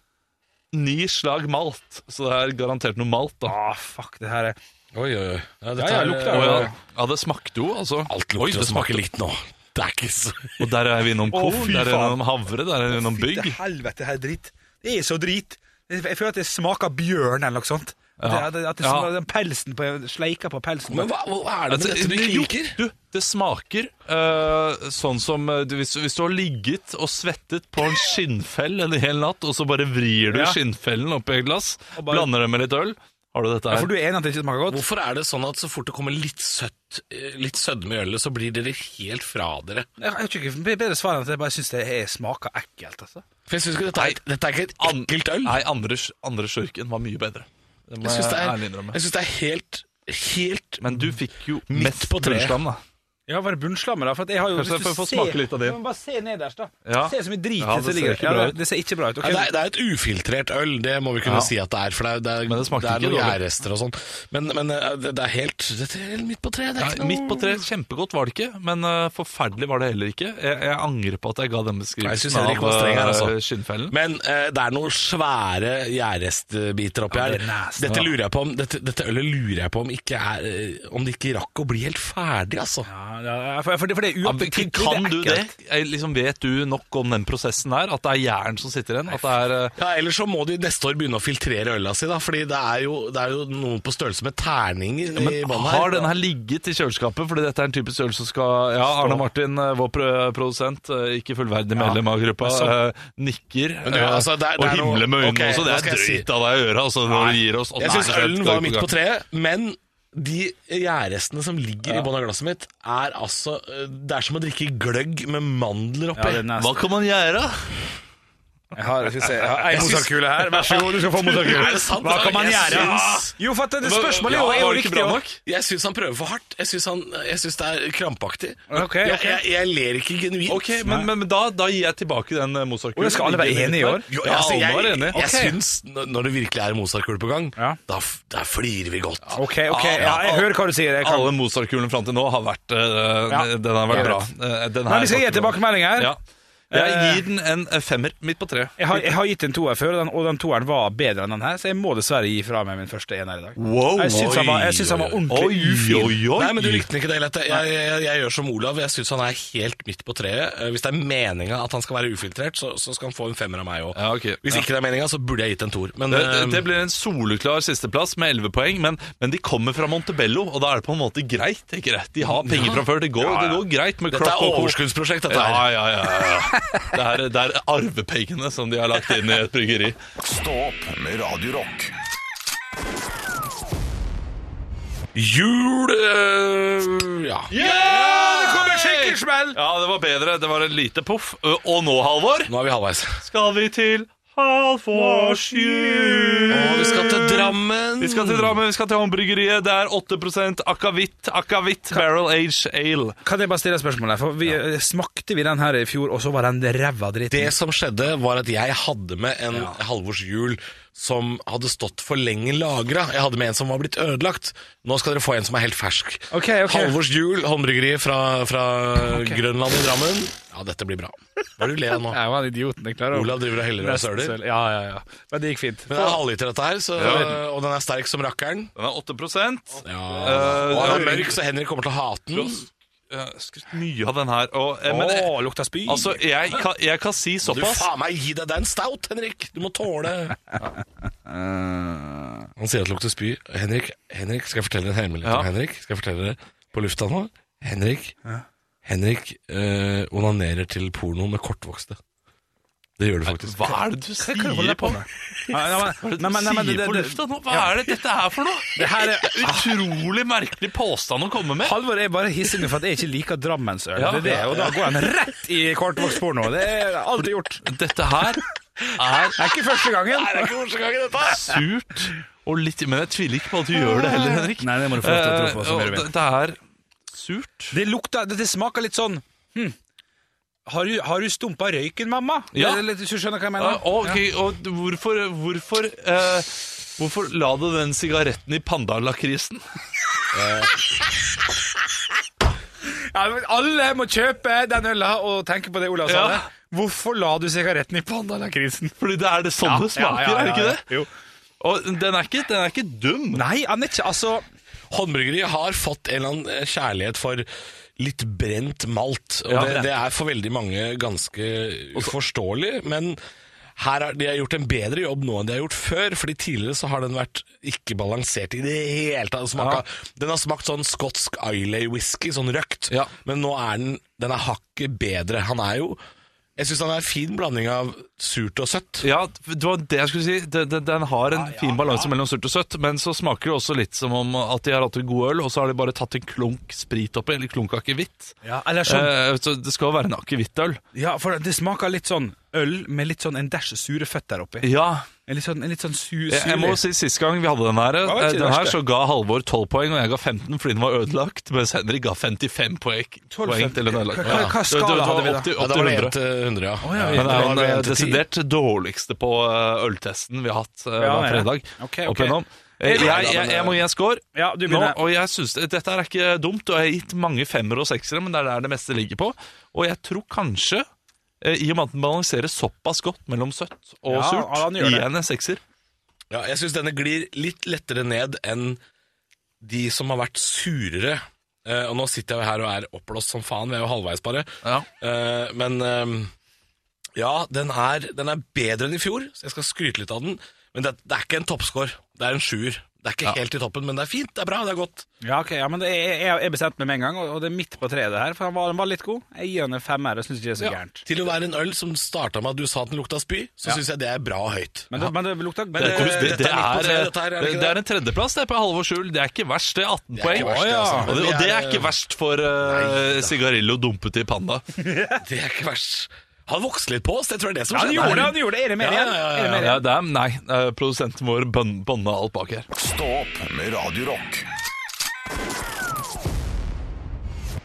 ni slag malt, så det er garantert noe malt, da. Eh, Ah, fuck, det her er Oi, oi, oi. Ja, dette Ja, ja, er- lukter Og jo- ja, ja. ja, det smakte jo, altså. Alt Oi, lukter det og smaker smakte- litt nå. Det er ikke så <laughs> Og der er vi innom Å, korn, fy der er vi faen. innom havre, der er vi innom bygg. Fytte helvete, det her er dritt. Det er så drit. Jeg jeg føler at det smaker bjørn eller noe sånt. At det- At, det- at det Ja. smaker, den pelsen på, sleiker på pelsen. Men hva, hva er det med Altså, dette du det- ikke jo, liker? Du, det smaker eh, sånn som eh, du, hvis, hvis du har ligget og svettet på en skinnfell en hel natt, og så bare vrir du Ja. skinnfellen oppi et glass, Og bare- blander det med litt øl. Har du dette Ja, her? for du er enig at det ikke smaker godt? Hvorfor er det sånn at så fort det kommer litt søtt, eh, litt sødme i ølet, så blir dere helt fra dere? Jeg har ikke noe bedre svar enn at jeg bare syns det her smaker ekkelt. altså. For jeg synes ikke dette er, dette er ikke et ekkelt øl. Nei, andre, andre slurken var mye bedre. Det må Jeg jeg, syns det, ærlig er- innrømme. jeg synes det er helt, helt Men du fikk jo Midt mest på treet. bursdagen, da. Ja, bare bunnslammer, da. For at jeg har jo, Kanskje hvis du jeg får ser- smake litt av din. Ja, men Bare se nederst, da. Ja. Se så mye drit Ja, det som ser ligger ikke bra Ja, ut. Det ser ikke bra ut. ok. Ja, det, er, det er et ufiltrert øl, det må vi kunne Ja. si at det er. For det er, det er, Men det smakte er ikke noen dårlig. gjærrester og sånn. Men, men eh, det det er helt det er helt midt på treet. Det er ikke Nei, noe midt på treet, kjempegodt var det ikke, men eh, forferdelig var det heller ikke. Jeg, jeg angrer på at jeg ga den Nei, jeg synes beskrivelsen heller ikke av man er streng her, altså. eh, skinnfellen. Men eh, det er noen svære gjærrestbiter oppi Ja, det her. er nasty, dette, da. lurer jeg på om, dette, dette ølet lurer jeg på om, ikke er, eh, om det ikke rakk å bli helt ferdig, altså. Ja, ja, for, for, det, for det er Ja, men uappetittlig. kan er du det? ekkelt. Eh, Liksom, vet du nok om den prosessen der? At det er hjernen som sitter igjen? At det er eh, Ja, Ellers så må de neste år begynne å filtrere øla si, da. Fordi det er jo, det er jo noen på størrelse med terninger men i vannet har den her ligget i kjøleskapet? Fordi dette er en type størrelse som skal Ja, Arne Martin, eh, vår pro- produsent, eh, ikke fullverdig medlem av gruppa, så- eh, nikker Men du, eh, altså, det er- det og er noe- himler med øynene Ok, også. Det nå er skal jeg si- drøyt av deg å gjøre, altså, når du gir oss Å, Jeg nei, syns det er- ølen det er var ikke midt på på gang. treet, men de gjærrestene som ligger i bånn av glasset mitt, er altså eh, Det er som å drikke gløgg med mandler Ja, oppi. det er nasty. Hva kan man gjøre? Jeg har, skal vi se, jeg har ei Mozart-kule her. Vær så god, du skal <laughs> få Er det Mozart-kule. sant? Hva kan man Jeg gjøre? Ah! syns- Jo, for at det Var- spørsmålet ja, jo, er jo var det ikke riktig bra òg. nok? Jeg syns han prøver for hardt. Jeg syns han- jeg syns det er krampaktig. Ok, Jeg, ok. jeg, jeg ler ikke genuint. Ok, men, men, men da, da gir jeg tilbake den eh, Mozart-kulen. Å, skal alle være enige i år? Jo, Ja, altså, alle var jeg, enige. jeg syns når- når det virkelig er Mozart-kule på gang, Ja. da, f- da flirer vi godt. Ah, Ok, ok, ja, jeg hører hva du sier. Jeg kan. Alle Mozart-kulene fram til nå har vært eh, Ja, Den har vært jeg bra. vet. Eh, den Men her vi var skal gi ikke bra. tilbakemelding her. Ja. Jeg Eh, gir den en eh, femmer midt på treet. Jeg har, jeg har gitt en toer før, og den, og den toeren var bedre enn den her, så jeg må dessverre gi fra meg min første ener i dag. Wow, Jeg syns han var, jeg synes han var ordentlig ufin. Nei, men Du likte den ikke det lett. Jeg, jeg, jeg, jeg gjør som Olav. Jeg syns han er helt midt på treet. Eh, Hvis det er meninga at han skal være ufiltrert, så, så skal han få en femmer av meg òg. Ja, ok. Hvis Ja. ikke det er meninga, så burde jeg gitt en toer. Men Det, det, det eh, blir en soleklar sisteplass med 11 poeng, men, men de kommer fra Montebello, og da er det på en måte greit. tenker jeg. De har penger fra før. Det går, Det går greit med dette Croc er og Co. overskuddsprosjekt, dette Ja, her. ja, ja. ja. Det, er, det er arvepengene som de har lagt inn i et bryggeri. Stå opp med Radio Rock. Jul eh, Ja. det kommer skikkelig smell! Ja, det var bedre. Det var et lite poff. Ø, Og nå, Halvor, Nå er vi halvveis. skal vi til Halvors jul. Og vi skal til Drammen. Vi skal til Drammen, vi skal til Håndbryggeriet. Det er 8 akavitt, akavitt barrel age ale. Kan jeg bare stille et spørsmål her? For vi, eh, Smakte vi den her i fjor, og så var den ræva dritt? Det som skjedde, var at jeg hadde med en halvårshjul som hadde stått for lenge lagra. Jeg hadde med en som var blitt ødelagt. Nå skal dere få en som er helt fersk. Ok, ok. Halvorshjul, håndbryggeriet fra, fra Grønland i Drammen. Ja, dette blir bra. Hva er det du ler av <laughs> nå? Jeg var en idiot, det klarer jeg. Olav driver og heller og Nesten søler. selv. Ja, ja, ja. Men det gikk fint. Men det er halvliter dette her, så, og den er sterk som rakkeren. Den er 8 Ja. Eh, Og den er høring. mørk, så Henrik kommer til å hate den. Jeg har skrytt mye av den her. Og, eh, Å, men eh, lukta spy. altså, jeg kan, jeg kan Du si såpass. faen meg gi deg den stout, Henrik! Du må tåle Han sier at det lukter spy. Henrik, Henrik, skal jeg fortelle deg en hemmelighet om Ja. Henrik? Skal jeg fortelle det på lufta nå? Henrik Henrik eh, onanerer til porno med kortvokste. Det gjør du faktisk. Hva er det du sier på med? Nei, nei, Hva er det du nei, nei, nei, men sier det- på det- lufta nå? Hva er det dette her for noe? Det her er <laughs> Utrolig merkelig påstand å komme med. Halvor er bare hissig nå for at jeg ikke liker Drammensøl. Ja. Det er det, og da går han rett i kortvokst porno. Det er aldri gjort. Det Dette her <laughs> er er ikke første gangen. Det er ikke første gangen dette! surt og litt Men jeg tviler ikke på at du gjør det heller, Henrik. Nei, det må du få lov til å tro på, så Eh, og mye du vil. Det det er surt. Det lukter, det, det smaker litt sånn hm. har, du, har du stumpa røyken, mamma? Ja. Det er litt- Hvis du skjønner hva jeg Ja, mener? Ah, ok, og d- hvorfor Hvorfor, eh, hvorfor la du den sigaretten i pandalakrisen? Ja, men alle må kjøpe den øla og tenke på det Olav sa. Ja. det. Hvorfor la du sigaretten i pandalakrisen? Fordi det er det sånne smaker, er det ikke det? Jo. Og den er ikke, den er ikke dum. Nei, han er ikke Altså, Håndbryggeriet har fått en eller annen eh, kjærlighet for litt brent malt. Og Ja, det, brent. det er for veldig mange ganske uforståelig, men her har, de har gjort en bedre jobb nå enn de har gjort før, fordi tidligere så har den vært ikke balansert i det hele tatt. Den, smaker- den har smakt sånn skotsk Islay-whisky, sånn røkt, Ja. men nå er den, den er hakket bedre. Han er jo, jeg synes han er en fin blanding av surt og søtt. Ja, det var det jeg skulle si. Den, den, den har en fin balanse mellom surt og søtt, men så smaker det også litt som om at de har hatt en god øl, og så har de bare tatt en klunk sprit oppi, eller klunk akevitt. ja, eller sånn, Eh, så det skal jo være en akevittøl. ja, for det smaker litt sånn øl med litt sånn en dash sure føtter oppi. Ja, En litt sånn, en litt sånn su jeg, jeg må surlig. si Sist gang vi hadde den her, var eh, ikke det den her verste. så ga Halvor 12 poeng, og jeg ga 15 fordi den var ødelagt. Mens Henrik ga 55 poeng, 12, poeng til den ødelagte. Hva- hva- Ja. hva skala Det- det var hadde vi da? opp til- Ja, Opp da til var det 100. 100. til 100, ja. Men det er Da var det den eh, en til ti. desidert dårligste på eh, øltesten vi har hatt eh, Ja, hver ja. fredag. Ok, opp ok. igjennom. Eh, Jeg- Jeg, jeg, jeg må gi en score Ja, du nå, begynner. og jeg synes det- dette er ikke dumt. Og jeg har gitt mange femmer og seksere, men det er der det meste ligger på. Og jeg tror kanskje, eh, i og med at den balanserer såpass godt mellom søtt og Ja, surt, ja, den gir gjør det. jeg henne en sekser. Ja, jeg syns denne glir litt lettere ned enn de som har vært surere. Eh, og nå sitter jeg jo her og er oppblåst som faen, vi er jo halvveis bare. Ja. Eh, men eh, ja, den er, den er bedre enn i fjor, så jeg skal skryte litt av den. Men det, det er ikke en toppscore, det er en sjuer. Det er ikke helt i toppen, men det er fint, det er bra, det er godt. Ja, ok, ja, men det er, jeg, jeg bestemte meg med en gang, og og det er midt på treet det her. For han var, han var litt god. Jeg gir han en femmer, og syns ikke det er så gærent. Til å være en øl som starta med at du sa at den lukta spy, så synes syns jeg det er bra høyt. Men det, men det lukta men Det, det, kom- det, det, dette er midt på treet, Eh, er, dette her, er det det, ikke det det? er en tredjeplass det er på Halvor Skjul. Det er ikke verst, det er 18 Det er poeng. ikke verst, det, altså. Og, det, og det er Men vi ikke verst for Nei, uh, da. sigarillo dumpet i <laughs> panna. Det er ikke verst. Han vokste litt på oss, jeg tror det er det som Han gjorde det, han skjedde. gjorde det! Er det mer Ja, igjen? ja, ja, Er det mer Ja, igjen? det er, nei, eh, produsenten vår bønn- bånda alt bak her. Stå opp med Radio Rock.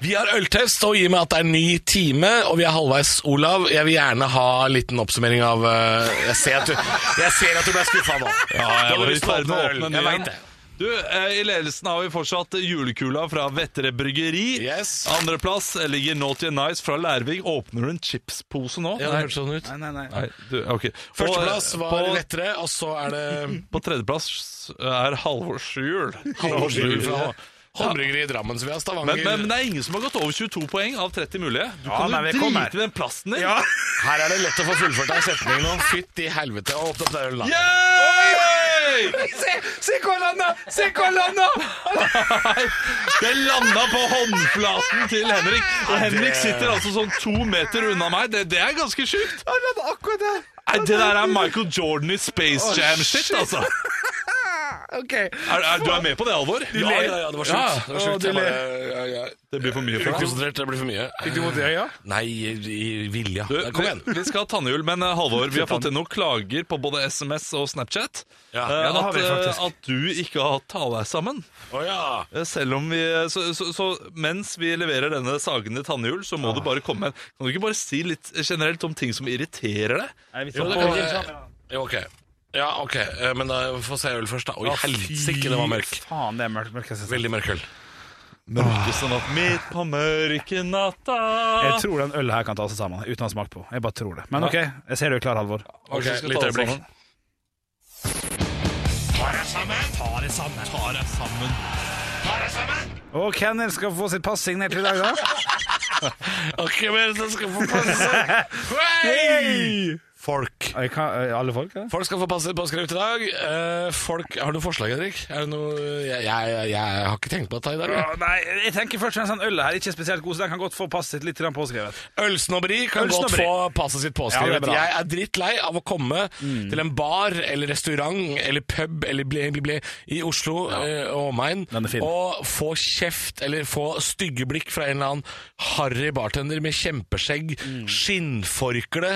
Vi har øltest, og i og med at det er en ny time, og vi er halvveis, Olav, jeg vil gjerne ha en liten oppsummering av eh, Jeg ser at du, jeg ser at du ble skuffa nå. Du hadde var i lyst til å ferd med å åpne en Jeg ny en. vet det. Du, eh, I ledelsen har vi fortsatt julekula fra Vettere bryggeri. Yes. Andreplass ligger Naughty and Nice fra Lærvik. Åpner du en chipspose nå? Ja, det hørtes sånn ut. Nei, nei, nei. Nei, du, ok. Og, Førsteplass eh, var på, lettere, og så er det på tredjeplass er Halvor Skjul. Halvor Skjul fra Håndbryggeriet i Drammen, så vi har Stavanger. Men, men, men det er ingen som har gått over 22 poeng av 30 mulige. Du Ja, kan nei, vi jo kommer. drite i den plassen din. Ja. Her er det lett å få fullført en setning nå. Fytti helvete, og åpne opp det ølet. da. Yay! Se, se hvor han landa! Se hvor han landa! Nei, det landa på håndflaten til Henrik. Og Henrik sitter altså sånn to meter unna meg. Det, det er ganske sjukt. Han landa akkurat der. Nei, Det der er Michael Jordan i Space Jam-shit, altså. Ok. Er, er, du er med på det, Alvor? Ja, ja, ja, det var Ja. sjukt. Det var sjukt. Å, du Jeg bare, ja, ja. Det blir for mye Jeg for er deg. Konsentrert, det blir for mye. Fikk du vondt i øya? Nei, i i vilja. Du, Kom igjen. Vi, vi skal ha tannhjul, men eh, Halvor, vi har fått inn noen klager på både SMS og Snapchat. Ja. Eh, Ja, det har at, vi faktisk. eh, at du ikke har hatt tale sammen. Å ja. Eh, Selv om vi så, så, så mens vi leverer denne sagende tannhjul, så må du bare komme med Kan du ikke bare si litt generelt om ting som irriterer deg? Jo, det kan jeg. Jo, ok. eh, Ja, ok. Eh, Men da få se øl først, da. Oi, helsike, det var mørk. Faen, det er mørk, mørk, jeg synes. Veldig mørk øl. Mørkeste natt sånn midt på mørke natta Jeg tror den ølen her kan ta seg sammen, uten å ha smakt på. Jeg bare tror det. Men ok, jeg ser du er klar, Halvor. Ok, Kanskje vi skal litt ta det øyeblikk. sammen. Ta deg sammen. Og Kenner skal få sitt pass signert i dag, da. Ok, men så skal få passe. <laughs> Hei! Folk. Jeg kan, eh, alle folk, ja? Folk skal få passe påskrift i dag. Eh, Folk, Har du noe forslag, Henrik? Er det noe jeg, jeg, jeg har ikke tenkt på dette i dag. jeg. Å, Nei, jeg tenker først og fremst den ølen her ikke er spesielt god, så den kan godt få passet sitt litt grann påskrevet. Ølsnobberi kan godt Ølsnobberi. få passet sitt Ja, det påskrevet. er bra. Mm. jeg er drittlei av å komme til en bar eller restaurant eller pub eller ble, ble, ble, i Oslo eh, og omegn Den er fin. og få kjeft eller få stygge blikk fra en eller annen harry bartender med kjempeskjegg, Mm. skinnforkle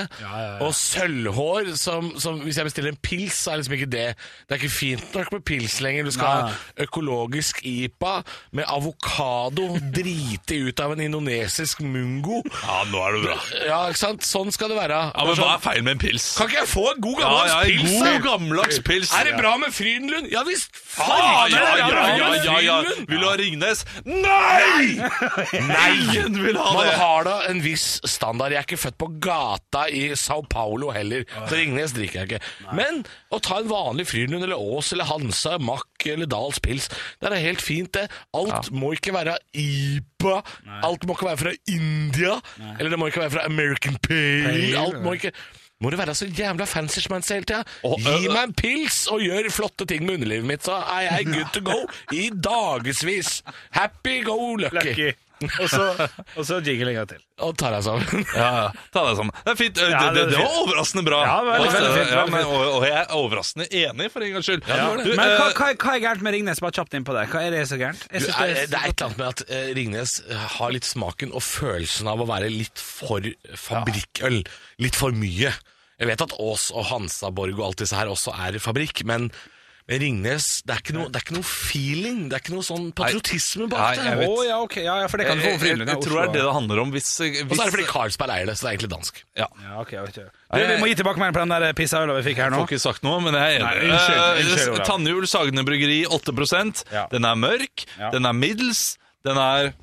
og sølvhår. Som, som Hvis jeg bestiller en pils, så er liksom ikke det Det er ikke fint nok med pils lenger. Du skal Nei. ha økologisk IPA med avokado <laughs> driti ut av en indonesisk mungo. Ja, nå er du bra. Ja, ikke sant? Sånn skal det være. Ja, men Hva er feilen med en pils? Kan ikke jeg få en god Ja, gammeldags ja, en pils? god gammeldags pils. Er det bra med Frydenlund? Ja visst! Ja, Faen! ja, er det bra ja, med ja, ja, ja. Frydenlund? Vil du ha Ringnes? Nei! Nei! Ingen vil ha Man det! har da en viss standard. Jeg er ikke født på gata i Sao Paulo heller, så Ringnes drikker jeg ikke. Men å ta en vanlig Frydenlund eller Ås eller Hansa, Mack eller Dahls pils, det er helt fint, det. Alt må ikke være IPA. Alt må ikke være fra India. Eller det må ikke være fra American Pale. Alt må ikke må det være så jævla fancy schmancy hele tida? Og- Gi meg en pils og gjør flotte ting med underlivet mitt, så er jeg good to go i dagevis. Happy go lucky. Lucky. Og så, og så jingle en gang til. Og tar deg sammen. <laughs> Ja, ja. ta deg sammen. Det er fint. Det, Ja, det, det er det var fint. overraskende bra. Ja, det var veldig, Og- veldig fint, ja, veldig men, og, og jeg er overraskende enig, for en gangs skyld. Ja, Du, Men hva, eh, hva, hva er gærent med Ringnes? Bare kjapt inn på det. Hva er det så gærent? Jeg Du, synes er, det er det et eller annet med at eh, Ringnes har litt smaken og følelsen av å være litt for fabrikkøl. Litt for mye. Jeg vet at Aas og Hansaborg og alt disse her også er fabrikk, men men Ringnes, det er, ikke noe, det er ikke noe feeling, det er ikke noe sånn patriotisme Nei, bak det. jeg vet. Å ja, ok. Ja, ja, for det jeg, kan du få jeg, jeg, overfrivillig. tror det er det det handler om. Hvis, hvis Og så er det fordi Carlsberg eier det, så det er egentlig dansk. ja. Ja, ok, jeg vet ikke. Du, vi må gi tilbake mer på den der pissa øla vi fikk her nå. Får ikke sagt noe, men jeg er enig. Nei, unnskyld, unnskyld, Eh, Olav. Tannhjul Sagne Bryggeri 8 Ja. Den er mørk, Ja. den er middels, den er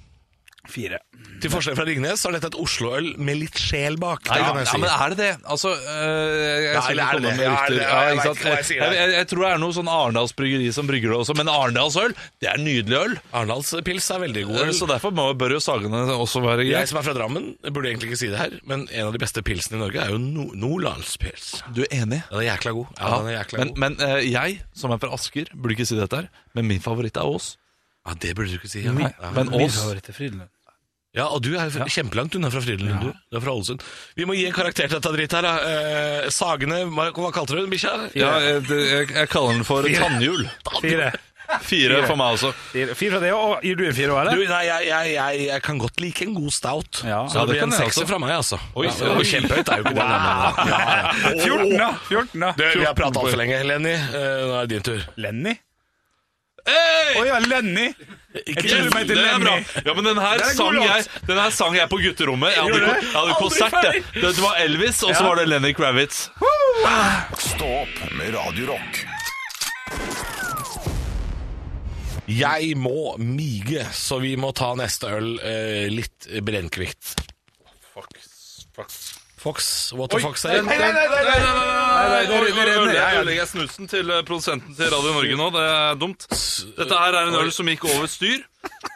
Fire. Til forskjell fra Ringnes så er dette et Oslo-øl med litt sjel bak. Nei, det ja, kan jeg ja, si. men er det det? Altså, øh, jeg, jeg, Ja, skal eller ikke er komme det? med Ja, er rykter. det? Ja, Jeg ikke vet sant? ikke hva jeg sier jeg, jeg, jeg tror det er noe sånn Arendals bryggeri som brygger det også, men Arendalsøl, det er nydelig øl. Arendalspils er veldig god. øl. Så derfor må, bør jo sagene også være Jeg greit. som er fra Drammen, burde egentlig ikke si det her, men en av de beste pilsene i Norge er jo no Nordlandspils. Du er enig? Den er jækla god. Ja, Ja, den er jækla men god. men øh, jeg, som er fra Asker, burde ikke si dette her, men min favoritt er Ås. Ja, det burde du ikke si. Ja. Nei, Ja. men Min Ås favoritt er Frydenlund. ja, og du er fra- kjempelangt unna fra Frydenlund. Du. du er fra Ålesund. Vi må gi en karakter til dette dritt her. Da. Eh, sagene hva, hva kalte du den, bikkja? Eh, ja, eh, jeg, jeg, jeg kaller den for tannhjul. Fire. Fire for meg også. Fire, fire fra det, og gir du en fire òg, Du, eller? nei, jeg, jeg, jeg, jeg kan godt like en god stout. så Ja. Ja, det det blir en kan jeg sekser også. fra meg, altså. Oi, ja, det var oi. kjempehøyt er jo ikke det. men- Ja, ja. 14, da! 14, da. Du, vi har prata altfor lenge, Lenny. Eh, nå er det din tur. Lenny? Hey! Å ja, Lenny! Jeg Yes, tror meg til den er bra. Lenny. Ja, men den her, Det er en god sang låt. jeg, den her sang jeg på gutterommet. Jeg hadde, Gjorde ikke- du? jeg hadde ikke Aldri sagt det. ferdig. det. Det var Elvis, og så var det Lenny Kravitz. Stå opp med Radio Rock. Jeg må mige, så vi må ta neste øl eh, litt brennkvikt. Fox, what the fuck say? Nei, nei, nei, nei, nei, nei, Oi, dere- oi, dere- øl- dere- Jeg ja, ja. ødelegger snusen til eh, produsenten til Radio Norge nå. Det er dumt. Dette her er en øl som gikk over styr.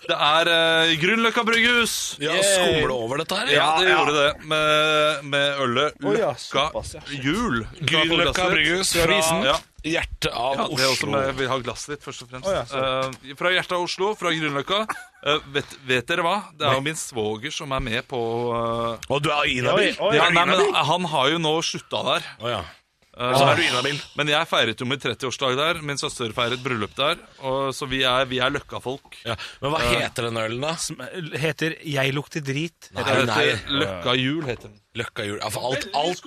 Det er uh, Grünerløkka brygghus. Ja, Skumle over dette her? Ja, det gjorde det. Med, med ølet Løkka Jul. Grünerløkka brygghus fra Ja. hjertet av Ja, det er også Oslo. med, vi har glasset ditt, først og fremst. Eh, fra hjertet av Oslo, fra Grünerløkka. Eh, vet, vet dere hva? Det er jo min svoger som er med på eh, Og du er inhabil? Oi, oi. ja, nei, men Han har jo nå slutta der. Å, ja. Eh, Så er du inhabil. men jeg feiret jo min 30-årsdag der. Min søster feiret bryllup der. Og, så vi er, vi er Løkka-folk. Ja. Men hva heter den ølen, da? Heter 'Jeg lukter drit'. Nei, Det nei. heter Løkka jul, heter den. Løkka jul. Ja, for alt, alt,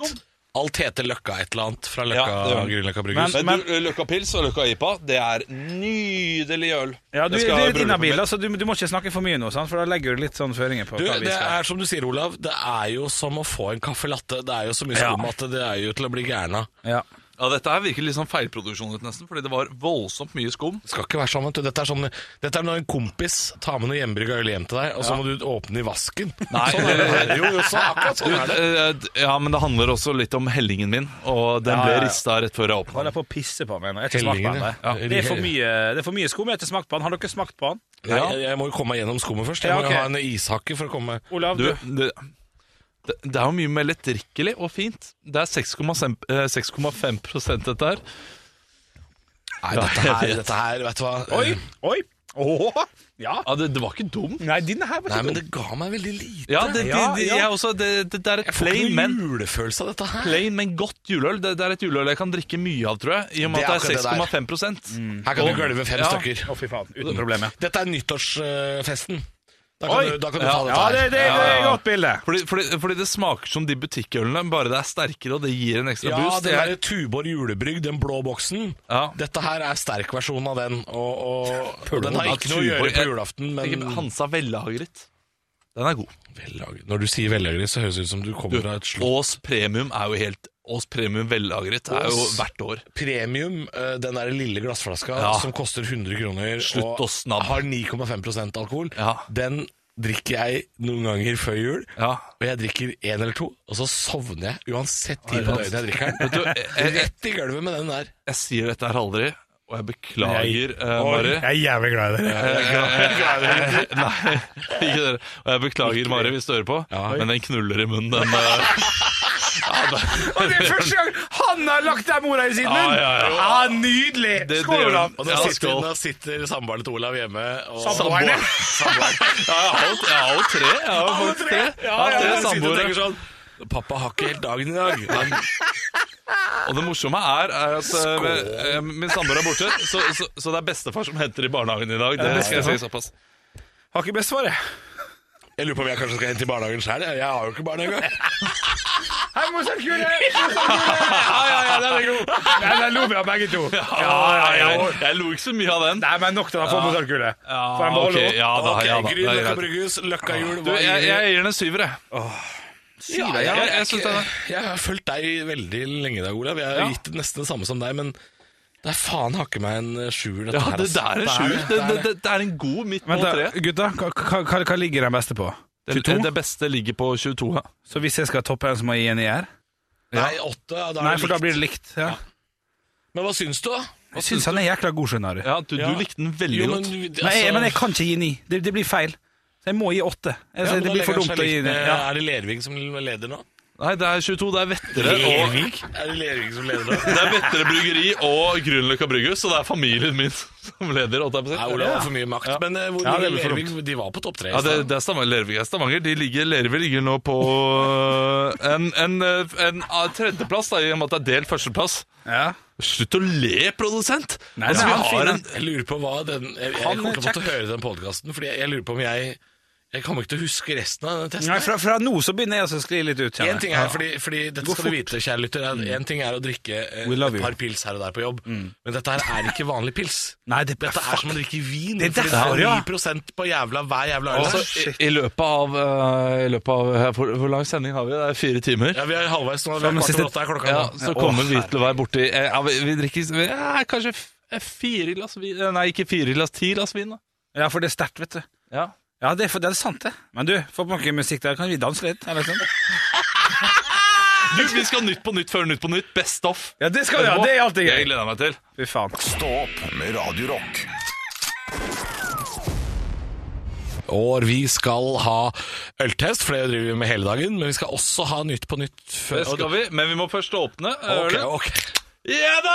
alt heter Løkka et eller annet fra Løkka Ja, det gjør det. Grünerløkka brygghus. Men- Men, du, Løkka pils og Løkka IPA, det er nydelig øl. Ja, Jeg du, du skal ha er litt bryllupet inhabil, mitt. altså, du, du må ikke snakke for mye nå, sant? for da legger du litt sånn føringer på Du, hva vi det skal. er som du sier, Olav. Det er jo som å få en caffè latte. Det er jo så mye Ja. skum at det er jo til å bli gæren av. Ja. Ja, Dette her virker litt sånn feilproduksjon, ut nesten, fordi det var voldsomt mye skum. Det skal ikke være sånn, vet du. Dette er, sånn, dette er når en kompis tar med noe hjemmebrygga øl hjem til deg, og så må du åpne i vasken. Nei. sånn er det. her. Jo, jo, så akkurat sånn er det. Eh, d- Ja, men det handler også litt om hellingen min, og den Ja, ja, ble ja. rista rett før jeg åpna Holder den. jeg på å pisse på meg nå. Jeg har ikke smakt på den. Hellingen, der. ja. Det er for mye, det er for mye skum. Jeg har ikke smakt på den. Har dere smakt på den? Nei, jeg, jeg må jo komme meg gjennom skummet først. Jeg må Ja, ok. jo ha en ishakke for å komme Olav, Du, du? det, det, det er jo mye mer lettdrikkelig og fint. Det er 6,5 eh, 6,5 prosent dette her. Nei, dette her, dette her vet du hva Oi! Oi! Åh, ja. Ja, det, det var ikke dumt. Nei, din her var Nei, ikke men det ga meg veldig lite. Ja, det, det, Ja, det, ja. jeg også, det, det, det er et Jeg får plain, ikke men noen julefølelse av dette her. Plain, men godt juleøl. Det, det er et juleøl jeg kan drikke mye av, tror jeg. I og med Det at er det Mm. er akkurat 6,5 prosent. Her kan du gølve fem Ja. stykker. Å, fy faen. Uten problem, ja. Dette er nyttårsfesten. Da kan Oi. du, da kan du Ja. ta Ja, dette det, her. det, det er et godt bilde. Fordi, fordi, fordi det smaker som de butikkølene, bare det er sterkere, og det gir en ekstra Ja, boost. den Jeg- derre Tuborg julebrygg, den blå boksen. Ja. Dette her er sterk versjon av den, og, <laughs> og, og den meg, har ikke noe å Tuborg- gjøre på jeg- julaften, Tenker men på Hansa Vellagret. Den er god. Vellagret. Når du sier vellagret, så høres det ut som du kommer fra et slott. Ås Premium er jo helt Ås Premium Vellagret er jo Ås. hvert år. Premium, eh, den der lille glassflaska Ja. som koster 100 kroner Slutt å snabbe. og har 9,5 alkohol, Ja. den drikker jeg noen ganger før jul. Ja. Og jeg drikker én eller to, og så sovner jeg uansett tid på døgnet jeg drikker Vet du, den. jeg, jeg, Rett i gulvet med den der. jeg sier dette her aldri, og jeg beklager, eh, Mari. Jeg er jævlig glad i dere. <laughs> Nei, ikke dere. Og jeg beklager, Mari, hvis du hører på, men den knuller i munnen, den. eh. Ja, Og det er første gang han har lagt de ordene i sin Ja, munn! ja, ja. Nydelig! Det- det Skål, gjør Olav. han. Og da Ja, sitter, skål. da sitter samboeren til Olav hjemme og Samboerne. Ja, jeg har jo- jeg har jo tre. Jeg har jo Alle faktisk tre. tre. Ja, Jeg har ja, tre ja. Sitter og samboere. tenker sånn Pappa har ikke helt dagen i dag. Han, Og det morsomme er, er at eh, min samboer er borte, så, så, så det er bestefar som henter i barnehagen i dag. Det skal jeg si såpass. Har ikke bestefar, jeg. jeg lurer på om jeg kanskje skal hente i barnehagen sjøl. Jeg har jo ikke barn <laughs> engang. Hei, Mozart-kule! Mozart-kule! Ja, ja, ja, <laughs> den er god. Nei, den lo vi av begge to. Ja, ja, ja. Jeg, jeg lo ikke så mye av den. Ah, Nei, men nok til å få Mozart-kule. For jeg må ok, holde opp. ja da, Ok, ja da. Gryn, det er Løkka greit. Brygghus, Løkka Jul. Du, jeg, jeg gir den en syver, jeg. ja, jeg, jeg- jeg jeg, synes det jeg, er- har fulgt deg veldig lenge i dag, Olav. Jeg har Ja. gitt nesten det samme som deg, men det er faen hakke meg en eh, sjuer, dette Ja, her. det ass. der er en sjuer. Det, det, det, det er en god midt på Vent, da, treet. gutta. Hva, hva- hva, hva ligger den beste på? Det, 22? det beste ligger på 22. Ja. Så hvis jeg skal toppe en, så må jeg gi en IR? Nei, åtte. ja, Da Nei, er for det da likt. blir det likt. Ja. Men hva syns du, da? Jeg syns han er jækla god, skjønner du. Ja, du, du Ja. likte den veldig Jo, men, godt. altså, Men jeg, men jeg kan ikke gi ni. Det, det blir feil. Så jeg må gi åtte. Jeg, ja, men det da blir for legger han dumt seg å gi likt det. med- Ja. Er det Lervik som leder nå? Nei, det er 22. Det er Vettere og Lervik? Er det Lervik som leder nå? <laughs> det er Vettere Bryggeri og Grünerløkka Brygghus, så det er familien min som leder. holdt jeg på å si. Nei, Olav har for mye makt. Men eh, hvor Ja, det ligger blir for Lervik? De var på topp tre. i Ja, det, stad. det er Stavanger. Lervik er Stavanger. De ligger, Lervik ligger nå på eh, en, en, en eh, tredjeplass, da, i og med at det er delt førsteplass. Ja. Slutt å le, produsent! Nei, altså, nei, vi han har finner- en, Jeg lurer på hva den Jeg, jeg Han eh, er kommer til å måtte kjekk. høre den podkasten, Fordi jeg, jeg lurer på om jeg Jeg kommer ikke til å huske resten av den testen. Nei, fra, fra nå så begynner jeg også å skli litt ut. En kjenner ting jeg. er, fordi, fordi dette skal du vite, kjære lytter, er- en ting er å drikke eh, Mm. We love et you. Mm. par pils her og der på jobb, men dette her er ikke vanlig pils. <laughs> Nei, det- dette fuck. er som å drikke vin. Det er fordi derfor, ja. 9 på jævla hver jævla øl. altså, i, i løpet av, eh, i løpet av her, hvor, hvor lang sending har vi? Det er fire timer. ja, vi er halvveis nå. Vi er men kvart siste- over åtte er klokka Ja, nå. så kommer vi til å være borti eh, ja, vi, vi drikker vi, ja, kanskje f- eh, fire glass vin eh, Nei, ikke fire glass, ti glass vin, da. Ja, for det er sterkt, vet du. Ja. Ja, det er, for- det er sant, det. Men du, få på noe musikk der. Kan vi danse litt? Eller sånn? Du, vi skal Nytt på Nytt før Nytt på Nytt. Best of. Ja, det skal vi ha. Det er alltid Jeg gøy. gleder meg til. Fy faen. Stå opp med Radio Rock. Og vi skal ha øltest, for det driver vi med hele dagen, men vi skal også ha Nytt på Nytt. Det Før, skal vi, men vi må først åpne eh, Ok, ølet. ok. Ja da!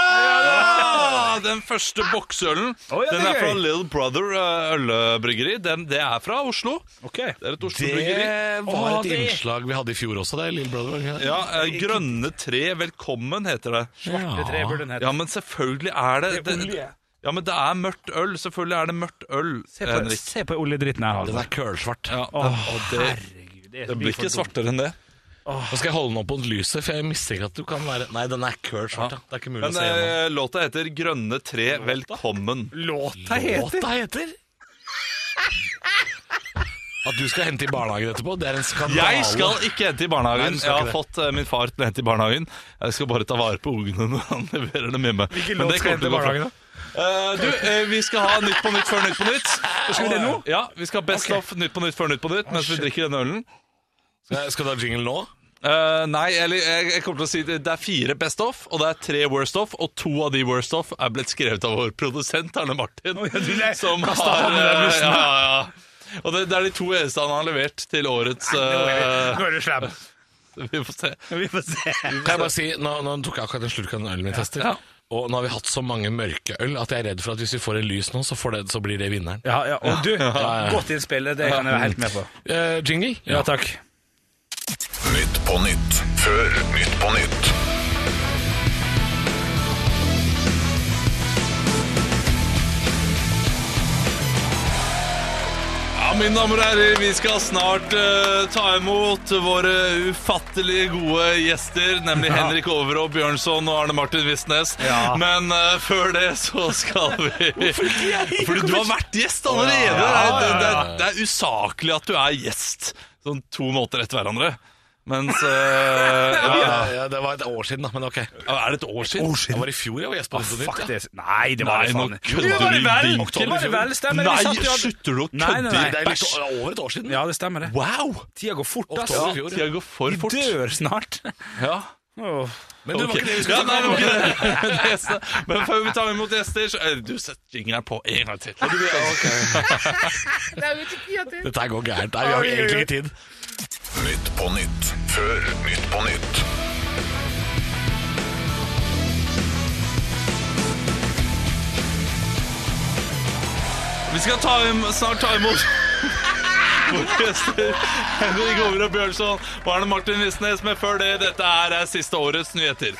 <laughs> Den første boksølen. Å, ja, det er den er fra gøy. Little Brother eh, ølbryggeri. Den, det er fra Oslo. Ok. Det er et Oslo-bryggeri. Det var et innslag vi hadde i fjor også, det, Lille Brother. var det ikke det? Ja, eh, Grønne tre velkommen heter det. Det tre burde den hete. Ja, men selvfølgelig er det Det er olje. Ja, men det er mørkt øl. Selvfølgelig er det mørkt øl, Se på, Henrik. se på oljedritten her. Den Halvor. er kølsvart. Ja, og det, Herregud, det, er- det blir ikke svartere enn det. Nå skal jeg holde den opp mot lyset, for jeg mistenker at du kan være Nei, den er kølsvart, ja. Det er ikke mulig å Men se gjennom. eh, låta heter Grønne tre velkommen. Låta heter Låta heter At du skal hente i barnehagen etterpå, det er en skandale. Jeg skal ikke hente i barnehagen. Nei, du skal jeg har ikke det. fått eh, min far til å hente i barnehagen. Jeg skal bare ta vare på ungene når han <laughs> leverer dem hjemme. Hvilken Men låt det skal jeg kommer til å gå bra. hente i barnehagen, da? Eh, du, eh, vi skal ha Nytt på nytt før Nytt på nytt. Skal vi det nå? Ja, vi skal ha Best of Nytt på nytt før Nytt på nytt mens vi drikker denne ølen. Eh, Skal du ha jingle nå? Eh, nei, eller jeg, jeg kommer til å si det, det er fire Best of, og det er tre Worst of, og to av de Worst of er blitt skrevet av vår produsent Arne Martin. le- som har han med den eh, blussen, ja, ja, ja. Og det, det er de to eneste han har levert til årets eh, Nå er du slem. Vi får se. Vi får se. Kan jeg bare si, nå, nå tok jeg akkurat en slurk av den ølen min tester. Og nå har vi hatt så mange mørke øl at jeg er redd for at hvis vi får en lys nå, så, får det, så blir det vinneren. Ja, ja, og du, godt innspill. Det kan jeg være helt med på. Eh, jingle? Ja, takk. Nytt på nytt før Nytt på nytt. Ja, mine damer og herrer, vi skal snart eh, ta imot våre ufattelig gode gjester, <laughs> nemlig Henrik Overå, Bjørnson og Arne Martin Vistnes. Ja. Men eh, før det så skal <laughs> vi <laughs> Fordi du har vært gjest allerede! Det, er, det, er, det er usaklig at du er gjest sånn to måneder etter hverandre. Mens eh, <laughs> ja, Ja, ja, det var et år siden, da, men ok. Er det et år siden? Det var i fjor jeg var gjest på Nytt på Nytt. Fuck ja. det. Nei, det var Nei, det nå faen ikke. kødder Jo, det var du det vel. dinkel. Oktober, det vel, stemmer. Vi Nei, satt jo- slutter du å Nei, nei, kødde? nei. Det er litt over et år siden. Ja, det stemmer det. Wow! Tida går fort, ass. Oktober i Ja, fjor, ja. Tida går for Vi fort. dør snart. Ja. Åh. Men du var Ok. ikke det vi Ja, skulle nei, det snakke om. var ikke det. <laughs> Det er så- Men før vi tar imot gjester, så eh, Du setter jingeren på en gang til. Dette her går gærent. Nei, vi har egentlig ikke tid. Nytt på nytt før Nytt på nytt. Vi skal ta im snart ta imot <laughs> våre gjester Henrik Over og Bjørnson og Arne Martin Visnes. Men før det, dette her er siste årets <laughs> nyheter.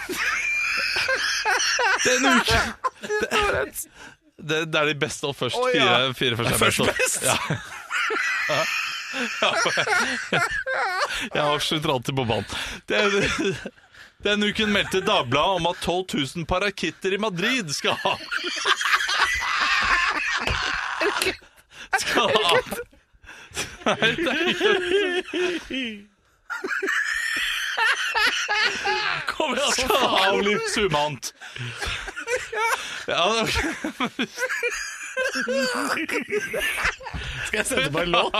Den uke det, det er de beste og først. Fire, fire først er best. og- Ja. Ja. Ja. <laughs> Jeg avslutter alltid på vann. Den, denne uken meldte Dagbladet om at 12 000 parakitter i Madrid skal ha Skal ha Nei, det er ikke Kom igjen, skal ha Olivs humant. Ja, det er ok. Skal jeg sende på en låt?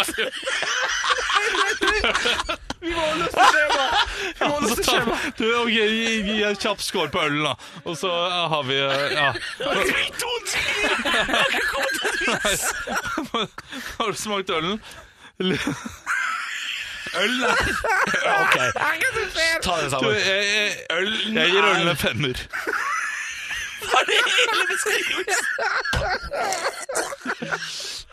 Så tar- Du, ok, gi, gi en kjapp skål på ølen, da. Og så eh, har vi eh, ja. Nei. <laughs> Har du smakt ølen? Øl, nei. <laughs> Ok. Ta det Du, eh, sammen. jeg, jeg, Øl, jeg gir ølen en femmer.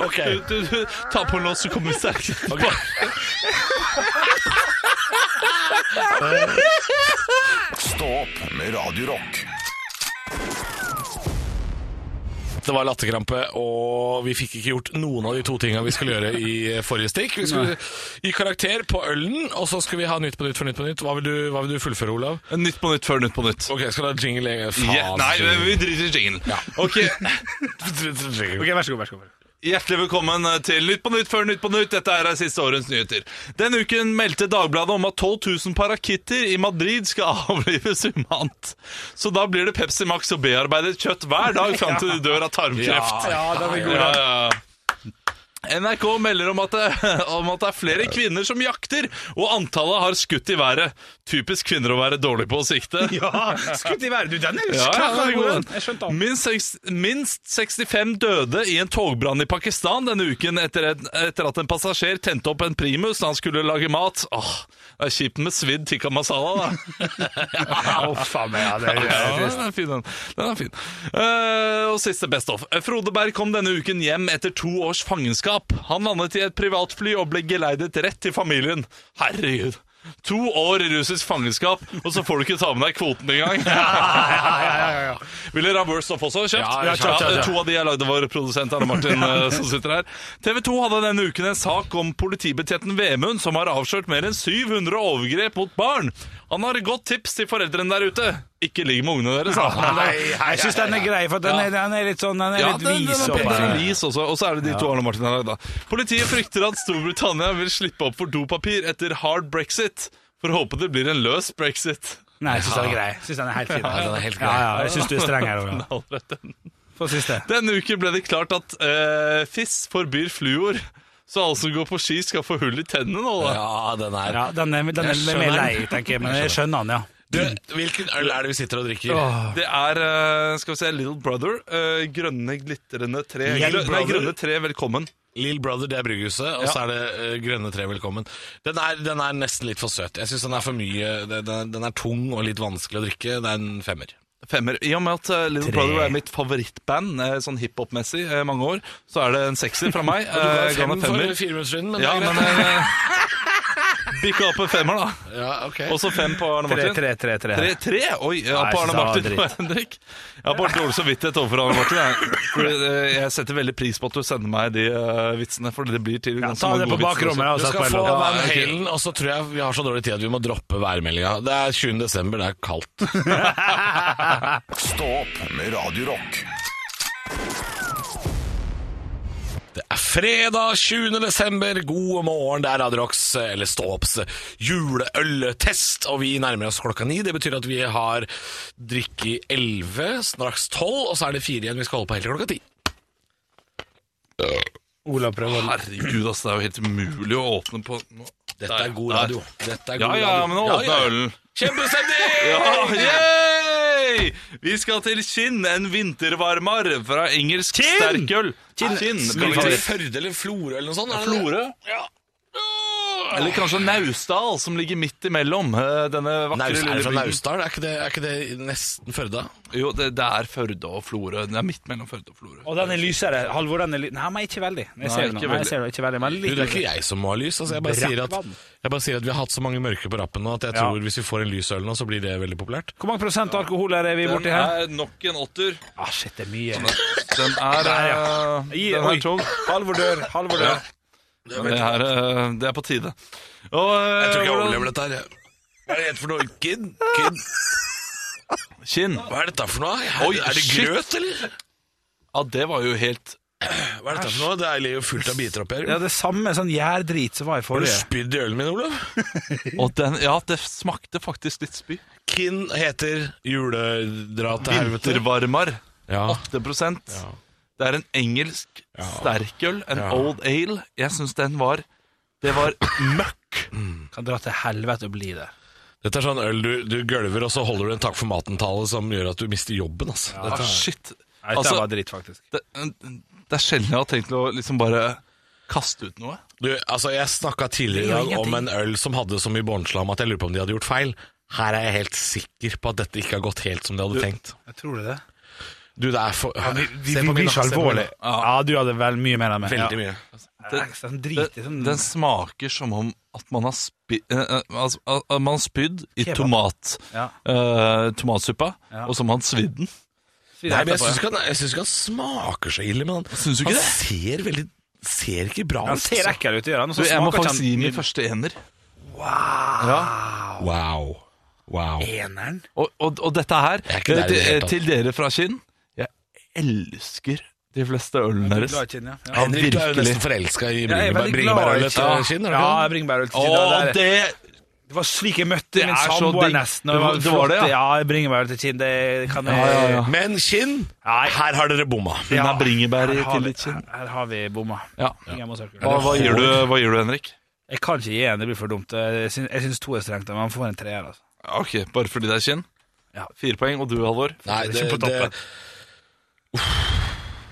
Ok. Du, du, du ta på en lås, så kommer vi sterkt <laughs> tilbake. Stå opp med Radio Rock. Det var latterkrampe, og vi fikk ikke gjort noen av de to tinga vi skulle gjøre i forrige stikk. Vi skulle gi karakter på ølen, og så skulle vi ha Nytt på nytt for Nytt på nytt. Hva vil du, hva vil du fullføre, Olav? Nytt på nytt før Nytt på nytt. Ok, skal du ha jingle? en gang? Faen. Ja, nei, men vi driter i jinglen. Ok, Ok, Vær så god. vær så god Hjertelig velkommen eh, til Nytt på nytt før Nytt på nytt. Dette er siste årets nyheter. Denne uken meldte Dagbladet om at 12 000 parakitter i Madrid skal <laughs> avlives humant. Så da blir det Pepsi Max og bearbeidet kjøtt hver dag fram til de dør av tarmkreft. Ja, den er god. Ja, ja, ja. NRK melder om at, <laughs> det, om at det er flere kvinner som jakter, og antallet har skutt i været. Typisk kvinner å være dårlig på å sikte. <laughs> Ja, skutt i været. Du, den er Ja, ja, knakende det er god, god, den. Jeg skjønte den. den. Minst, seks- minst 65 døde i en togbrann i Pakistan denne uken etter, en, etter at en passasjer tente opp en primus da han skulle lage mat. Åh, det er kjipt med svidd tikka masala, da. Uff a meg, ja, det er- det Ja, er trist. den er fin, den. den er fin. Eh, og siste best of. Frode Berg kom denne uken hjem etter to års fangenskap. Han landet i et privatfly og ble geleidet rett til familien. Herregud. To år i russisk fangenskap, og så får du ikke ta med deg kvoten <laughs> engang. Ville dere ha Worst Off også kjøpt? Ja, ja, kjøpt, kjøpt, ja. To av de er lagd av vår produsent Anne Martin eh, som sitter her. TV 2 hadde denne uken en sak om politibetjenten Vemund som har avslørt mer enn 700 overgrep mot barn. Han har et godt tips til foreldrene der ute. Ikke ligg med ungene deres, <laughs> da. Jeg syns den er grei, for den er, den er litt sånn Den er litt den- den vis. er opp Petter her. Lis også, og så er det de to Arne Martin har lagd. da. Politiet frykter at Storbritannia vil slippe opp for dopapir etter hard brexit. For å håpe det blir en løs brexit. Nei, jeg syns den er grei. Syns den er helt fin. den er helt grei. Ja, ja, jeg syns du er streng her <laughs> òg. Få siste. Denne uken ble det klart at eh, FIS forbyr fluor, så alle som går på ski skal få hull i tennene nå. <laughs> Da. Ja, den er Ja, den er, den Jeg er skjønner mer den. lei, tenker jeg, men jeg skjønner den, ja. Du, hvilken øl er det vi sitter og drikker? Det er, eh, skal vi se, Little Brother, eh, grønne glitrende tre. Grø Little nei, Brother. grønne tre, velkommen. Lill Brother, det er Brygghuset, og så er det eh, Grønne tre, velkommen. Den er, den er nesten litt for søt. Jeg syns den er for mye den er, den er tung og litt vanskelig å drikke. Det er en femmer. Femmer. I og med at eh, Little Tre. Brother er mitt favorittband, eh, sånn hiphop-messig, eh, mange år, så er det en sekser fra <laughs> meg. Du ga Eh, jo ga meg fem for femmer. fire minutter siden, men Ja, det er men greit. eh, <laughs> bikka opp en femmer, da. <laughs> ja, ok. Også fem på Arne Tre, Martin. tre, tre. tre. Tre, tre? Oi, ja, Nei, på Arne så Martin dritt. og <laughs> Henrik. Jeg har bare dårlig samvittighet overfor Arne Martin. Jeg, Fordi, eh, jeg setter veldig pris på at du sender meg de eh, vitsene, for det blir til Ja, ganske ta det mange på gode vitser. bakrommet. altså. også. og Du skal sett på få LO. Van Halen, og så tror jeg vi har så dårlig tid at vi må droppe værmeldinga. Det er 20. desember, det er kaldt. Stå opp med Radio Rock. Det er fredag 20. desember, god morgen, det er Radiorox, eller Ståops, juleøltest, og vi nærmer oss klokka ni. Det betyr at vi har drikke i 11, straks 12, og så er det fire igjen vi skal holde på helt til klokka ti. Olav prøver å Herregud, ass, det er jo helt umulig å åpne på nå. Dette Der, er god der. radio. Dette er Ja, god ja, radio. men nå åpner jeg ølen. Kjempestemning! <laughs> Ja, yay! Vi skal til Kinn, en vintervarmer fra engelsk sterkøl. Kinn! Kinn. Skal vi til Førde eller Florø eller noe sånt? er det det? Florø? Ja. Eller kanskje Naustdal, som ligger midt imellom eh, denne vakre Naust, er det lille fra byen. Naustdal? Er ikke det, er ikke det nesten Førda? Jo, det, det er Førde og Florø. Den er midt mellom Førde og Florø. Og den er lysere. Halvor, den er ly Nei, men ikke veldig. Jeg ser den nå. ikke Nei, veldig. jeg ser den ikke veldig. Men Du, litt det er ikke lysere. jeg som må ha lys. Altså, jeg, bare sier at, jeg bare sier at vi har hatt så mange mørke på rappen nå at jeg Ja. tror hvis vi får en lys øl nå, så blir det veldig populært. Hvor mange prosent alkohol er vi borti Den her? er nok en åtter. Ah, shit, det er mye. Den er, eh, Gi- den oi. er tung. Halvor dør. Halvor dør. Men Det er, eh, det er på tide. Og, eh, hvordan- dette her. Hva er det for noe? Kid? Kid? Kinn. Hva er dette for noe? Oi, er det shit. grøt, eller? Ja, det var jo helt Hva er dette for noe? Det er jo fullt av biter oppi her. Ja, det samme sånn gjærdrit som var Har i du forrige. spydd i ølen min, Olav? Og den, ja, det smakte faktisk litt spy. Kinn heter juledra til helvete. Vintervarmar. Ja. 8 Det er en engelsk sterkøl, en Ja. old ale. Jeg syns den var Det var møkk. Kan dra til helvete og bli det. Dette er sånn øl du, du gølver, og så holder du en takk for maten-tale som gjør at du mister jobben. Altså. Ah, Dette, shit. Nei, Altså- det var dritt, faktisk. Det, det er sjelden jeg har tenkt å liksom bare kaste ut noe. du, altså, jeg snakka tidligere i Det gjør dag om en øl som hadde så mye båndslam at jeg lurer på om de hadde gjort feil. Her er jeg helt sikker på at dette ikke har gått helt som de hadde tenkt. Jeg tror det. Du, det er for Vi, vi, Se på vi blir mine, ikke se på mine. alvorlige. Ja, du hadde vel mye mer enn meg. Veldig mye. Ja. Den Den, driter sånn den smaker som om at man har, spi, eh, eh, altså, at man har spydd i Kebab. tomat, Ja. eh, tomatsuppa, Ja. og så må man svidd den. Nei, men jeg syns ikke, han- jeg synes ikke han smaker så ille, men han, Syns du han ikke det? ser veldig Ser ikke bra ut. Han ser altså. ekkel ut, gjør han. og Du, så jeg må smaker sånn ikke faktisk gi han- min første ener. Wow. Wow. Eneren? Og, og, og dette her, er ikke der i det eh, hele til, tatt. til dere fra Kinn Jeg elsker de fleste ølene Du er deres. glad i kinn, ja. Ja. Ja, Henrik, du er jo virkelig. nesten forelska i Jeg er bringebær- veldig glad i bringebærølet til Kinn? er du Ja, ikke det? bringebærøl til Å, Kinn. ja, det er- det Det var slik jeg møtte Det min er så samboer digg. nesten. Det var- det var det, ja. ja. jeg bringer meg til Kinn. Det kan jeg... ja, ja. Men Kinn, Nei. her har dere <laughs> bomma. Hun Ja. er bringebær Her i- har til vi, ditt kinn. her har vi bomma. Ja. Jeg, må søke. Hva, hva, gir du, hva gir du, Henrik? jeg kan ikke gi en, det blir for dumt. Jeg syns, jeg syns to er strengt, men man får en treer. Altså. Ok, Bare fordi det er Kinn? Ja. Fire poeng. Og du, Halvor? Nei, det, Ikke på det, toppen.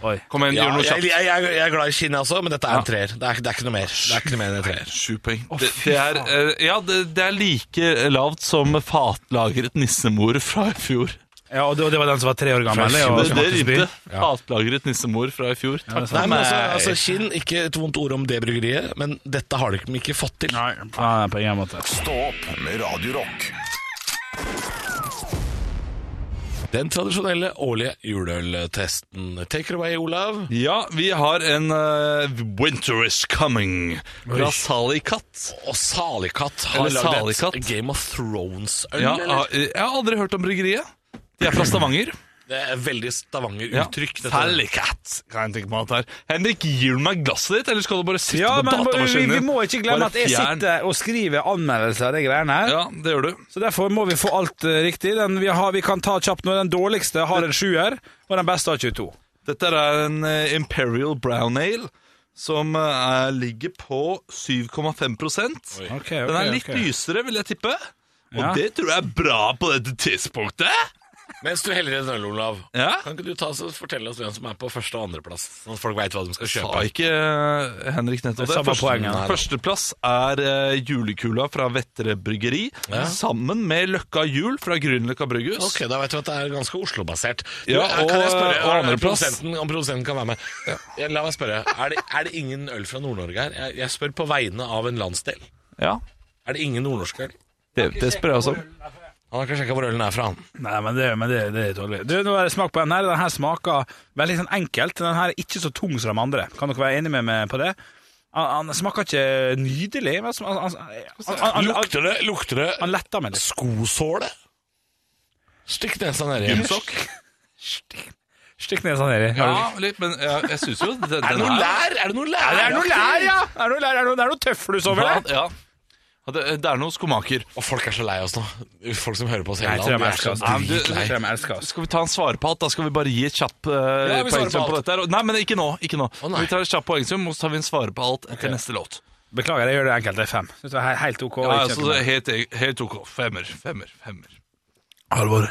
Oi. Kom igjen, ja, gjør noe jeg, kjapt. jeg, jeg jeg er glad i Kinn, altså, men dette er en treer. Det er, ikke- det er ikke noe mer. Det er ikke noe mer enn en treer. Sju poeng. Det, det, er, eh, ja, det, det er like lavt som fatlagret nissemor fra i fjor. Ja, og det, og det var den som var tre år gammel. Det, og det smakte sprit. rimte. Fatlagret nissemor fra i fjor. Takk Nei, for men meg. altså, altså Kinn, ikke et vondt ord om det bryggeriet, men dette har de ikke fått til. Nei, nei, på ingen måte. Stå opp med Radio Rock. Den tradisjonelle årlige juleøltesten. Take it away, Olav. Ja, vi har en eh, Winter is coming fra Sally Katt. Og Salikatt har Eller lagd Salikatt. et Game of Thrones-øl. Ja, eller? jeg har aldri hørt om bryggeriet. De er fra Stavanger. Det er veldig Ja. Stavanger-uttrykk. dette. Sally Katt, kan jeg tenke meg at det er. Henrik, gir du meg glasset ditt, eller skal du bare sitte Ja, på men vi, datamaskinen? vi din? må ikke glemme Bare at jeg fjern- sitter og skriver anmeldelser av de greiene her. Ja, det gjør du. Så derfor må vi få alt eh, riktig. Den vi, har, vi kan ta kjapt nå. Den dårligste har en sjuer, og den beste har 22. Dette er en eh, Imperial Brown Ale som eh, er- ligger på 7,5 Okay, Den er litt lysere, vil jeg tippe. Og Ja. det tror jeg er bra på dette tidspunktet. Mens du heller en øl, Olav, Ja. kan ikke du ta oss og fortelle oss hvem som er på første- og andreplass? Sånn at folk veit hva de skal Sa kjøpe. ikke eh, Henrik nettopp Det det? er samme poeng, ja. Førsteplass er eh, julekula fra Vettere Bryggeri, Ja. sammen med Løkka Jul fra Grünerløkka Brygghus. Ok, Da vet vi at det er ganske Oslo-basert. Du, Ja, er- kan jeg og- spørre, og er- er andreplass? Produsenten, om produsenten kan være med. Ja, La meg spørre. Er det, er det ingen øl fra Nord-Norge her? Jeg, jeg spør på vegne av en landsdel. Ja, Er det ingen nordnorsk øl? det, det spør jeg også om. Han har ikke sjekka hvor ølen er fra, han. Nei, men det, men det, det er tålelig. Du, nå er det smak på den her. Den her smaker veldig sånn enkelt. Den her er ikke så tung som de andre. Kan dere være enige med meg på det? Han, han smaker ikke nydelig, men han, han, han, han, han, Lukter det, lukter det han letter meg litt. skosåle? sånn Stikk nesa nedi. Gymsokk? Stikk nesa nedi. Ja, litt, men ja, jeg syns jo Er det, det den noe her lær? Er det noe Er lær? det er noe lær, ja! Er det noe lær, er det noe, det er noe tøfflus over Ja, det? ja. Ja, Det, det er noen skomaker. Og folk er så lei oss nå. Folk som hører på oss Nei, hele jeg dagen. de er så tror de elsker oss. men du- dritlei. Jeg tror de elsker oss. Skal vi ta en svarepalt? Da skal vi bare gi et kjapp eh, Ja, vi svarer på poengsum på alt. dette. her. Nei, men ikke nå. ikke nå nei. Vi tar et kjapt poengsum, og så tar vi en svarepalt etter neste låt. Beklager, jeg gjør det enkelt. Det er fem. Synes det er he- helt ok. Ja, ikke altså, noe det mer. er helt, helt ok. Femmer, femmer, femmer. Alvor.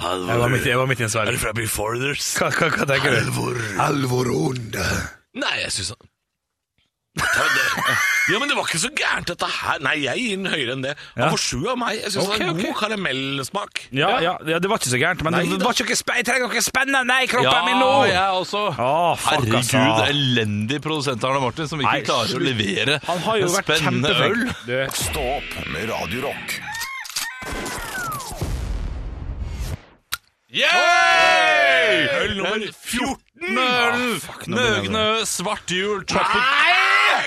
jeg var midt, jeg var midt i en sverre. fra Beforeathers? Hva, hva, hva tenker du? Nei, jeg syns han Ja, men det var ikke så gærent dette her. Nei, jeg gir den høyere enn det. Han Ja. får sju av meg. Jeg syns det er Ok, en ok. god karamellsmak. Ja, ja, ja, det var ikke så gærent, men Nei, det da. var ikke noe spe- jeg trenger noe spennende i kroppen min nå! jeg også. Å, fuck, Herregud, altså. elendig produsent Arne Martin, som ikke Nei, klarer å levere Han har jo en vært spennende øl. kjempeflink. Du, Stå opp med Radio Rock. Yeah! Øl nummer 14! Ah, Mølen, Møgne, Svart Jul, Tropic Nei!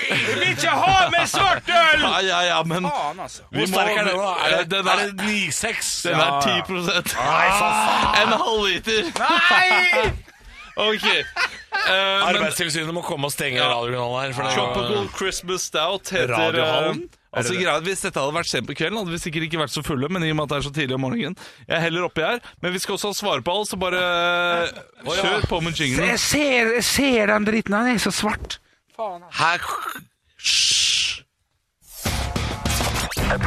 Jeg vil ikke ha med svart <laughs> øl! Ja, ja, ja, men Faen, altså. vi Hvor må- Eh, sterk er den, da? Er det, Den er er, det 9,6? den er 10 En halvliter. Nei! <laughs> OK. Eh, men Arbeidstilsynet må komme og stenge radiokanalen her. For det, Tropical Christmas Stout heter Radiohallen? eh, Altså greia er at Hvis dette hadde vært sent på kvelden, hadde vi sikkert ikke vært så fulle. Men i og med at det er så tidlig om morgenen Jeg er heller oppi her. Men vi skal også ha svare på alt, så bare kjør på med jinglen. Jeg ser, jeg ser den dritten, han er så svart. her,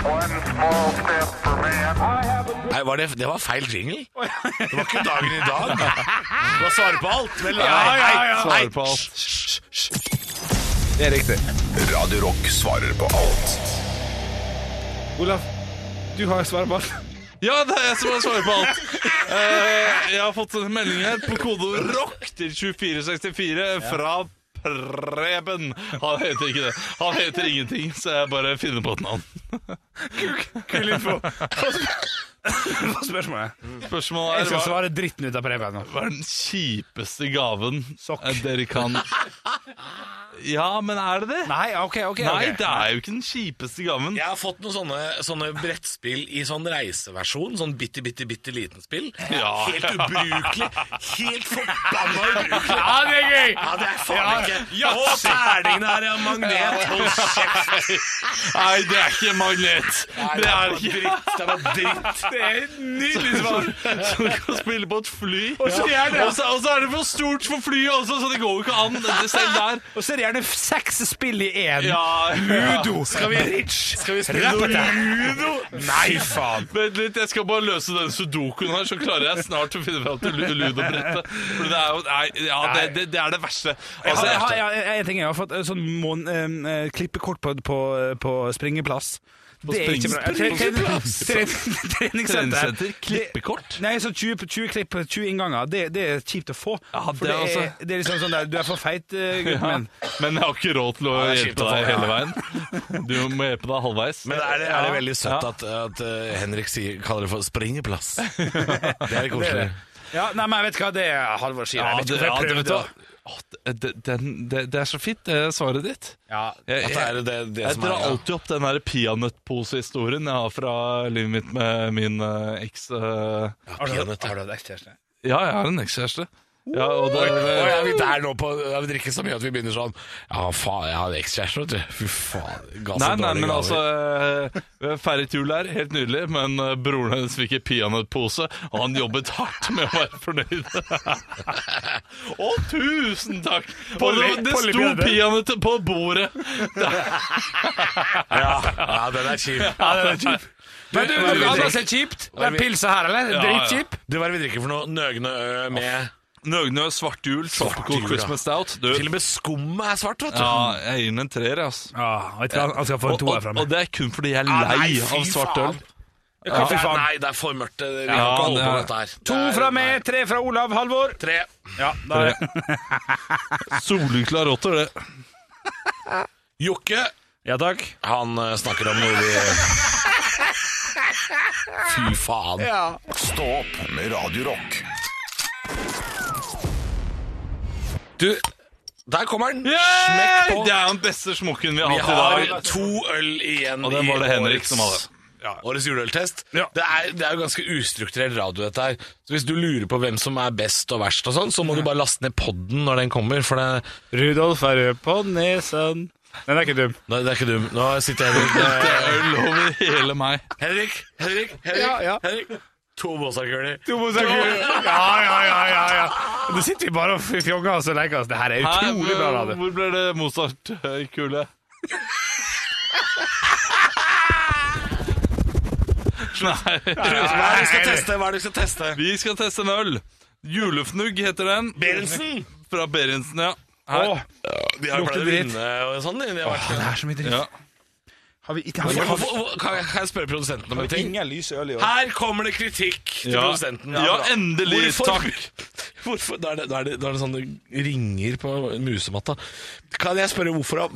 One small step for man, nei, var det, det var feil jingle. Det var ikke dagen i <laughs> dag. Det var svare på alt. Vel, nei, nei, nei. Svare på alt. Det er riktig. Radio Rock svarer på alt. Olaf, du har svarbart. Ja, det er jeg som har svaret på alt. Eh, jeg har fått en melding her på kode ROCK til 2464 fra Preben. Han heter ikke det. Han heter ingenting, så jeg bare finner på et navn. Kul info. Hva er spørsmålet? Spørsmålet Jeg er skal hva, svare dritten ut av Preben nå. hva er den kjipeste gaven Sokk. eh, dere <laughs> kan Ja, men er det det? Nei, ok, ok. Nei, det er jo ikke den kjipeste gaven. Jeg har fått noen sånne, sånne brettspill i sånn reiseversjon. Sånn bitte, bitte, bitte liten spill. Ja. Helt ubrukelig. Helt forbanna ubrukelig. Ja, det er gøy! Ja, det er faen ikke Å, terningene her er magnet. Hold kjeft. Nei, det er ikke magnet. Det er ikke dritt. <laughs> Det er bare dritt. Det er et nydelig svar. Som kan spille på et fly. Og så er det- Og så, og så er det for stort for flyet også, så det går jo ikke an. Det- Selv der. Og så er det gjerne seks spill i én. Ja, Ludo. Skal vi rich? Skal vi spille noe Rappete. Ludo? Nei, faen. Vent litt, jeg skal bare løse den sudokuen her, så klarer jeg snart å finne fram til lu- ludobrettet. For det er jo Nei, ja, det, det, det er det verste. Jeg Altså, har, jeg har, jeg- jeg, jeg, en ting jeg har fått eh, sånn mån, eh, eh, klippekort på, på, på springeplass. Det er ikke bra. spring- Tre- tre- springeplass? tre- Treningssenter, Treningssenter. klippekort? Det- Nei, så 20, på 20 klipp, 20 innganger. Det, det er kjipt å få. Ja, for det det, er altså- er, det er liksom sånn der Du er for <laughs> feit, eh, gutten Ja, min. men jeg har ikke råd til å det er hjelpe kjipt å få, deg ja. hele veien. Du må hjelpe deg halvveis. Men er det, er det veldig søtt at, at eh, Henrik sier, kaller det for springeplass? Det er koselig. Ja, nei, men jeg vet hva det er Halvor sier. Jeg vet ikke hvorfor jeg det- prøvde å Å, det- det- den- det- det er så fint, det svaret ditt. ja. Jeg, At det er det, det Jeg som drar er alltid opp den der peanøttposehistorien jeg har fra livet mitt med min eh, eks eh, Har du har du ekskjæreste? Ja, jeg har en ekskjæreste. Ja, og det, Å, ja, vi der nå på ja, Vi drikker så mye at vi begynner sånn Ja, faen, jeg har en ekskjæreste, vet du. Fy faen. Ga så Nei, nei, dårlige men gaver. altså eh, Feiret jul her, helt nydelig, men eh, broren hennes fikk en peanøttpose, og han jobbet hardt med å være fornøyd. <laughs> Å, tusen takk! På Og det, le- det på sto leppene. peanøtter på bordet! ja, ja, den er <laughs> kjip. Ja, det er kjipt. Men du, hva er det vi noe annet drikker? som er kjipt? Det er pilsa her, Ja, eller? ja. Dritkjip? Du, hva er det vi drikker for noe? Nøgne ø med Nøgnø, svart jul, tropical jul, ja. Christmas stout. Du, Til og med skummet er svart, vet du. ja, jeg gir den en treer, altså. Ja, vet du hva, han skal få en Og, toer fra og, meg. og det er kun fordi jeg er Ja, lei nei, fy av svart faen. øl. Ja, det er, nei, det er for mørkt. Vi kan Ja, ikke holde det på er- med dette her. To Det er- fra meg, tre fra Olav. Halvor. Tre. Ja, <laughs> da er det. Soluklar rotter, det. Jokke, Ja, takk. han ø, snakker om noe vi Fy faen. Stå opp med Radio Rock. Du, der kommer den. Smekk på. Smekk Det på. er den beste smokken vi har Vi hatt i har dag. to øl igjen Og den var det i Henrik årets- som hadde. Årets juleøltest. Ja. Det, er, det er jo ganske ustrukturert radio, dette her. Så hvis du lurer på hvem som er best og verst og sånn, så må du bare laste ned podden når den kommer, for det, Rudolf er rød på nesen. Den er ikke dum. Nei, det er ikke du. Nå sitter Henrik Det er øl over hele meg. <laughs> Henrik, Henrik, Henrik. Ja, ja. Henrik. To Mozart-kuler. Ja, ja, ja, ja, ja. Nå sitter vi bare og fjonger oss og leker oss. Det her er utrolig bra radio. Hvor ble det Mozart-kule? <laughs> Nei, Hva er det du skal teste? Hva er det du skal teste? vi skal teste en øl. Julefnugg heter den. Berensen! Fra Berentsen, ja. Her. Åh. De har Lukter pleid å dritt. vinne og sånn. De har vært Det er så mye dritt. Ja. Har vi ikke har vi, Men har vi, hvorfor- hvor- Kan jeg kan jeg spørre produsenten om en ting? Ingen lys øl i år. Her kommer det kritikk til Ja. produsenten. Ja, endelig, takk. <laughs> Hvorfor, da, er det, da, er det, da er det sånne ringer på musematta. Kan jeg spørre hvorfor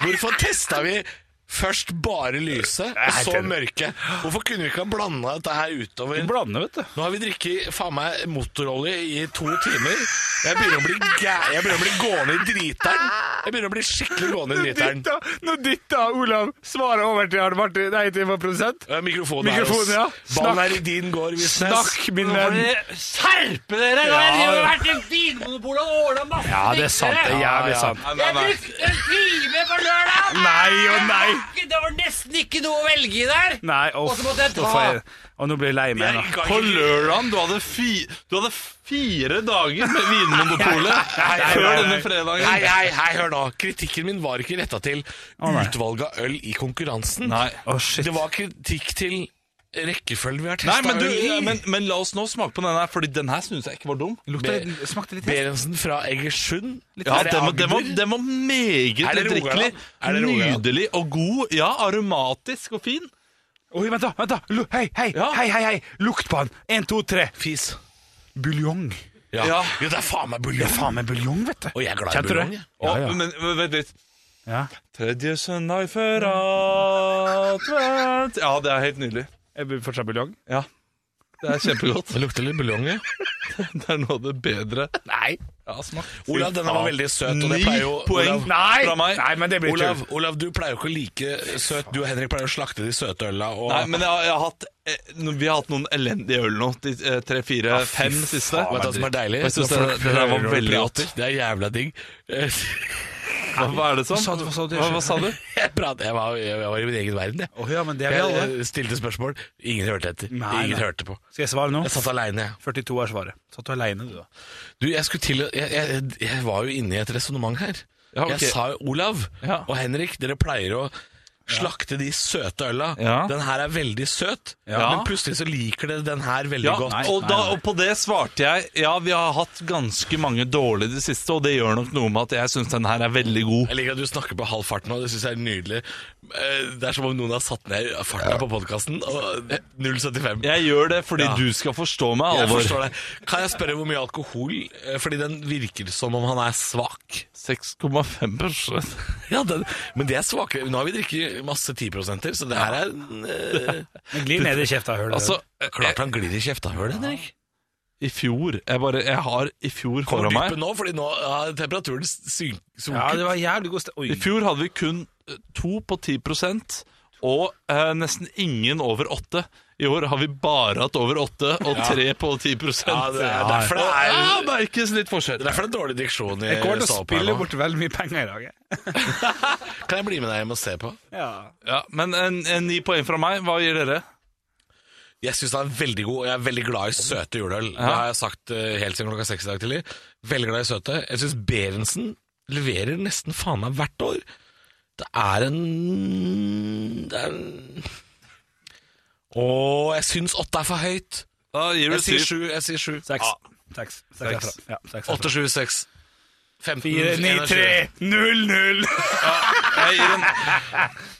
Hvorfor testa vi først bare lyse, og så mørke? Hvorfor kunne vi ikke ha blanda dette her utover? Blande, vet du. Nå har vi drikket faen meg motorolje i to timer. Jeg begynner å bli, gæ jeg begynner å bli gående i driteren. Jeg begynner å bli skikkelig gående i driteren. nå dytta Olav svaret over til Arne Martin, nei, til vår produsent. Ja, Eh, Mikrofonen, Mikrofonen, er ja. hos Ballen Snakk. er i din gård, Visnes. Snakk, min venn. Skjerpe dere! Ja. Jeg har vært i Vinmonopolet og ordna masse Ja, det er sant. Det er jævlig sant. Nei, nei, Jeg nei. brukte en time på lørdag! Nei og nei. Det var nesten ikke noe å velge i der! Nei, Og så måtte jeg ta. Og nå blir jeg lei meg nå. På lørdagen, du hadde, fi, du hadde fire dager med Vinmonopolet nei, før nei, nei. denne fredagen. Hei, hei, hei, hør nå. Kritikken min var ikke retta til nei. utvalget av øl i konkurransen. Nei. Å, shit. Det var kritikk til rekkefølgen vi har Nei, testa men, du, øl i. men, men la oss nå smake på denne, her, Fordi den her synes jeg ikke var dum. Lukta litt- Smakte litt hest. Berentsen fra Egersund. Ja, Er det den var, den var, Agder? den var meget Er det Rogaland? drikkelig. Er det Rogaland? Nydelig og god. Ja, aromatisk og fin. Oi, vent, da! vent da Lu- Hei, hei, Ja. hei, hei, hei! Lukt på den! Én, to, tre. Fis. Buljong. Ja. Ja. Jo, det er faen meg Det er buljong. faen meg buljong, vet du. Og jeg er glad i Kjente du buljong. det? jeg. Ja, ja. Å, Men, men vent litt. Ja. Tredje søndag før advent Ja, det er helt nydelig. Jeg blir fortsatt buljong. Ja. Det er kjempegodt. Det lukter litt buljong, ja. <laughs> Det er noe av det bedre. Nei. Ja, smak. Olav, denne var veldig søt, og det Ni pleier jo poeng. Olav, Nei! Fra meg. Nei, men det blir Olav, tull. Olav, du pleier jo ikke å like søt. Du og Henrik pleier å slakte de søte øla. Og Nei, men jeg, har- jeg har hatt eh, no- Vi har hatt noen elendige øl nå. De eh, tre, fire, fem siste. Vet du hva som er deilig? Og Jeg synes Når det, folk det der hører var og veldig prater. godt. Det er jævla digg. Eh, Hva, hva er det som? sa du- hva sa du? Hva, hva sa du? <laughs> Jeg, prat, jeg, var, jeg var i min egen verden, jeg. Å ja, men det er vi Jeg, alle. jeg stilte spørsmål. Ingen hørte etter. Nei, Ingen nei. hørte på. Skal jeg svare nå? Jeg satt aleine, jeg. 42 er svaret. Satt du aleine, du, da? Du, jeg, skulle til, å- jeg, jeg, jeg var jo inne i et resonnement her. Ja, ok. Jeg sa jo Olav Ja. og Henrik, dere pleier å slakte de søte øla. Ja. Den her er veldig søt, Ja. men plutselig så liker dere den her veldig Ja, godt. nei, og, da, nei. og på det svarte jeg Ja, vi har hatt ganske mange dårlige i det siste, og det gjør nok noe med at jeg syns den her er veldig god. Jeg liker at du snakker på halv fart nå, det syns jeg er nydelig. Eh, Det er som om noen har satt ned farten på podkasten, og 0,75. Jeg gjør det fordi Ja. du skal forstå meg, Jeg Alvor. forstår det. Kan jeg spørre hvor mye alkohol eh, Fordi den virker som om han er svak. 6,5 prosent. Ja, den, Men det er svakere. Nå har vi drikket masse 10-prosenter, så det her er eh, Men glir ned i kjefta, hører du. Altså, eh, Klart han glir i kjefta. Hør det, Henrik. i fjor Jeg bare Jeg har i fjor Kommer foran meg dypet nå, fordi nå har temperaturen syn- ja, sunket. det var jævlig god sted. Oi. I fjor hadde vi kun eh, to på 10 og eh, nesten ingen over åtte. I år har vi bare hatt over åtte og tre på 10 Ja, det er derfor det Ja, er det er ikke så litt det forskjell. er derfor det er dårlig diksjon i Jeg kommer til å stå-opp her spille nå. bort veldig mye penger i dag. jeg. Kan jeg bli med deg hjem og se på? Ja. Ja, men en, en ni poeng fra meg. Hva gir dere? Jeg syns den er veldig god, og jeg er veldig glad i søte juleøl. Det har jeg sagt eh, helt siden klokka seks i dag tidlig. Veldig glad i søte. Jeg syns Berentsen leverer nesten faen meg hvert år. Det er en Det er en Å, jeg syns åtte er for høyt. Da gir Jeg du sier syv. sju. Jeg sier sju. Seks. Seks. Seks. herfra. Ja, seks. herfra. Åtte, sju, seks. 15, 21. 0, 0. Jeg gir en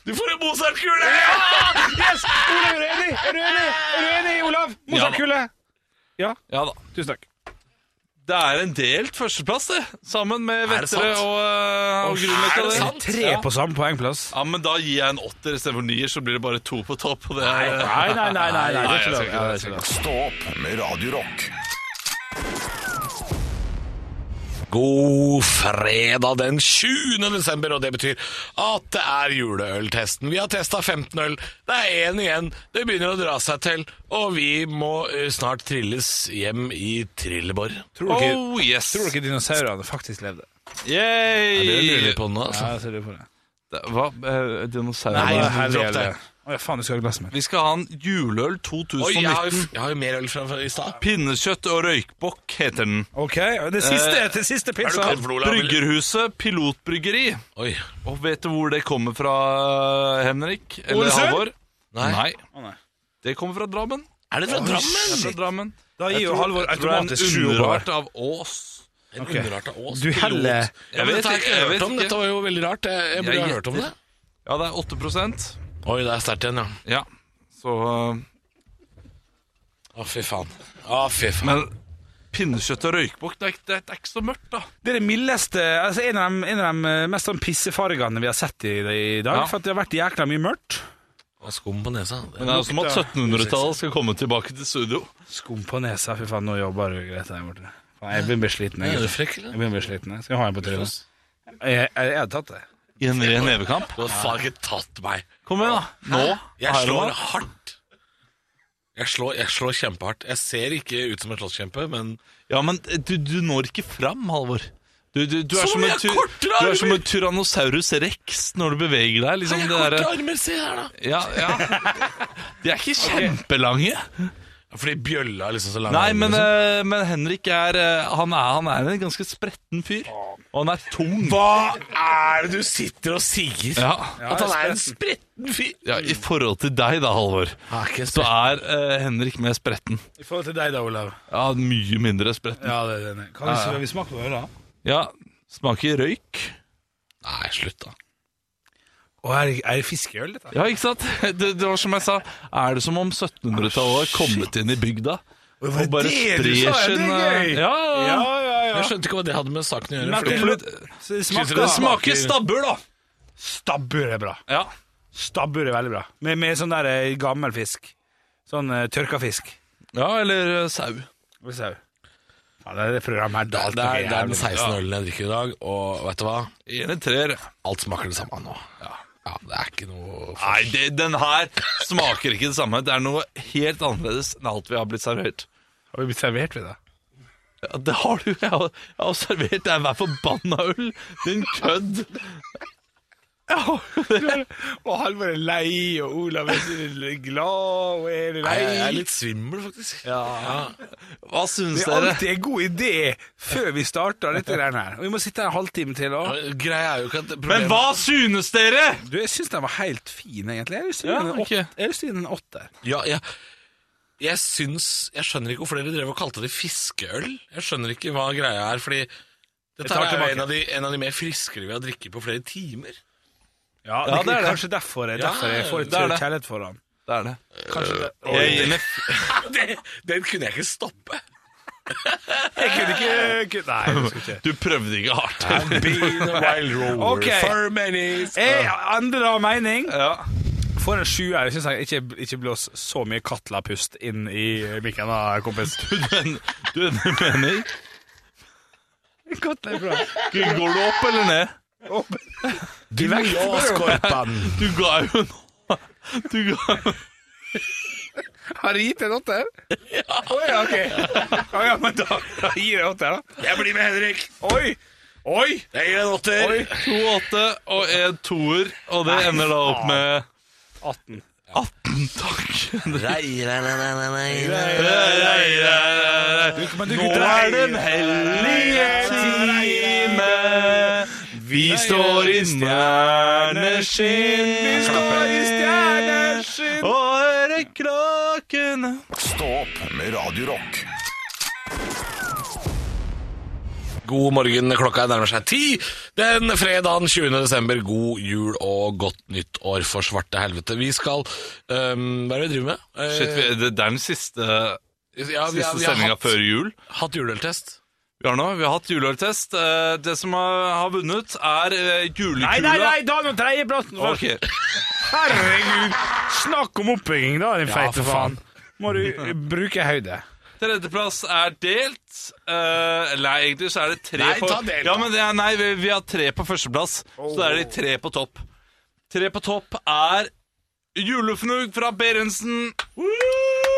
Du får en Mozart-kule! Yes! Olav, er du enig? Er du enig? Er du enig, Olav? Mozartkule. Ja, Ja da. tusen takk. Det er en delt førsteplass, det. Sammen med Er det Vettere sant? og, eh, og Grünerløkka. er det det. sant? Tre på samme poengplass. Ja, men da gir jeg en åtter istedenfor nier, så blir det bare to på topp. Og det er, Nei, nei, nei. nei, nei, det jeg er skal ikke ikke lov. det, jeg skal ikke Stå opp med Radio Rock. God fredag den 20. desember, og det betyr at det er juleøltesten. Vi har testa 15 øl, det er én igjen, det begynner å dra seg til, og vi må eh, snart trilles hjem i Trilleborg. Tror du ikke- Oh yes! tror du ikke dinosaurene faktisk levde? Yay! Ja, jeg ser det på Altså, det. Det- Hva? eh, Dinosaurer? Nei, Å, du herlig, dropp det. herlig. Å, ja, faen, du skal ha glass med. Vi skal ha en juleøl Oi, jeg har, 2019. jo, jeg har jo mer øl fra fra i stad. Pinnekjøtt og røykbokk heter den. Ok, og det siste, det siste pizza. Bryggerhuset Pilotbryggeri. Oi. Og vet du hvor det kommer fra, eh, Henrik? Eller Ålesund? Halvor? Nei. Å, nei. Det kommer fra Drammen. Er det fra Det er fra Drammen? Drammen. Da Jeg gir jo tror- Halvor jeg tror det er en automatisk sju over. underart av Ås. En underart av Ås. Du pilot. heller- ja, men Jeg vet Dette har jeg ikke, jeg ikke vet hørt om. ikke. Dette var jo veldig rart. Jeg, jeg burde Jeg ha hørt om det. Ja, det er 8 Oi, det er sterkt igjen, ja. Ja. Så øh, Å, fy faen. Å, fy faen. Men pinnekjøtt og røykbukk, det, er ikke- det er ikke så mørkt, da. Det er det mildeste altså En av de, en av de mest sånn pissefargene vi har sett i, i dag. Ja. For at det har vært jækla mye mørkt. Det er Skum på nesa. Men det er jo som at 1700-tallet skal komme tilbake til studio. Skum på nesa. Fy faen, nå jobber du greit der borte. Faen, jeg begynner å bli sliten. Er Jeg, du gutter. frekk, jeg eller? begynner å bli sliten. jeg. Skal jeg ha en på trynet? Jeg, jeg, jeg hadde tatt det. I en ren nevekamp. Du har faen ikke tatt meg. Kom igjen, da. Nå. Jeg Her og slår nå. hardt. Jeg slår, jeg slår kjempehardt. Jeg ser ikke ut som en slåsskjempe, men Ja, men eh, du, du når ikke fram, Halvor. Du, du, du, er Så som mye en ty- kortere du armer! er som en tyrannosaurus rex når du beveger deg. Liksom, Jeg det har korte der, armer, se her, da! ja, <laughs> ja. De er ikke kjempelange. Fordi bjølla er liksom så lang. Nei, men, eh, men Henrik er, eh, han er han er en ganske spretten fyr. Og han er tung. eh, Hva er det du sitter og sier? Ja. At han er en spretten fyr? ja, I forhold til deg, da, Halvor, Han er ikke en så er eh, Henrik mer spretten. I forhold til deg da, Olav. Ja, mye mindre spretten. Ja, det, det, det. Kan vi, vi smake på ølet? da? Ja, smaker røyk. Nei, slutt, da. Å, er, det- er det fiskeøl, dette? Ja, ikke sant? <laughs> Det, det var som jeg sa, er det som om 1700-tallet har kommet inn i bygda? Og bare det du sa? Ja, det er gøy! Ja, ja, ja. ja, Jeg skjønte ikke hva det hadde med saken å gjøre. Men- Fordi For det, Så det Synes smaker, dere det det smaker smaker- stabbur, da. Stabbur er bra. Ja. Stabbur er veldig bra. Med, med sånn der eh, gammel fisk. Sånn eh, tørka fisk. ja, eller eh, sau. Hva sa du? Ja, det er det programmet her. det er, alt det er blir det er den jævlig bra. 16. ølen jeg drikker i dag, og vet du hva? En i treer. Alt smaker det samme nå. Ja, Det er ikke noe Nei, det, den her smaker ikke det samme. Det er noe helt annerledes enn alt vi har blitt servert. Har vi blitt servert, vi, da? Ja, det har du. Jeg har, jeg har servert deg hver forbanna øl. Din kødd. Og Halvor er lei, og Olav er glad, og er lei. Jeg jeg er litt svimmel, faktisk. Hva syns Det er dere? alltid en god idé før vi starter dette greiene her. Og vi må sitte her en halvtime til òg. Greia er jo ikke at Men hva synes dere? Du, jeg syns den var helt fin, egentlig. Jeg har lyst til å Ja, gi den en ok. åt- jeg har lyst til å gi den en åtter. Ja, ja. Jeg syns Jeg skjønner ikke hvorfor dere drev og kalte det fiskeøl. Jeg skjønner ikke hva greia er, fordi dette tar er jo tilbake. en av, de, en av de mer friskere vi har drikket på flere timer. <laughs> Ja, det er det. Kanskje derfor, jeg- Ja, derfor jeg får litt det er det. kjærlighet for den. Det er det. Oi. Jeg gir den en Den, den kunne jeg ikke stoppe. Jeg kunne ikke <laughs> Nei, jeg husker ikke. Du prøvde ikke hardt. Ok. for many Jeg endrer mening. Ja. For en sjuer. Jeg syns jeg ikke, ikke blås så mye Katla-pust inn i mikken, da, kompis. Men, du, du mener Katla er bra. Går du opp eller ned? Du vekter Skorpan. Du ga jo nå Du ga Har jeg gitt en åtter? <laughs> Ja. Oi, ok. Ja, ja, men da, da gir jeg åtter, da. Jeg blir med Henrik. Oi! Oi! Jeg gir en åtter. Oi. to åtte og en toer, og det ender da opp med 18. 18, takk. Nei, nei, nei, nei, nei, nei. Men du, Nå er den hellige time. Vi står i stjerneskinn. Og hører kråkene Stå opp med Radio Rock. God morgen, klokka nærmer seg ti. Den fredagen 20. desember, god jul og godt nytt år for svarte helvete. Vi skal øhm, Hva er det vi driver med? Eh, Shit, vi- det det er den siste, ja, vi, har- siste vi har sendinga hatt, før jul. hatt juleøltest. Vi har, nå, vi har hatt juleøltest. Eh, Det som har har vunnet, er eh, julekula. Nei, nei, nei, Daniel Tredjeplassen først. Ok. Herregud! Snakk om oppbygging, da, din Ja, feite for faen. faen. Må du eh, bruke høyde. Tredjeplass er delt. Eh, nei, egentlig så er det tre Nei, på ta delt, da. Ja, men det er, Nei, vi, vi har tre på førsteplass, så da er det tre på topp. Tre på topp er Julefnugg fra Berentsen.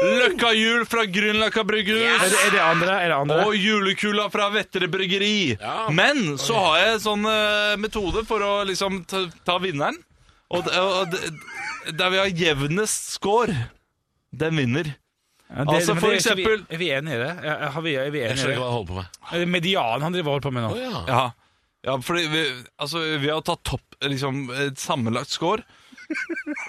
Løkkajul fra Grünerløkka brygghus. Er det, er det andre? Er det andre? Og julekula fra Vettere bryggeri. Men så har jeg en sånn eh, metode for å liksom ta, ta vinneren. Og, d- og d- der vi har jevnest score, den vinner. Ja, altså, men for er ikke vi- eksempel- Er vi enige i det? Ja, ja, har vi, er vi Jeg skjønner enige i ikke det? hva du holder på med. Er det Median han driver og holder på med nå. Å, ja. Ja, ja fordi vi, altså, vi har tatt topp, liksom, eh, sammenlagt score.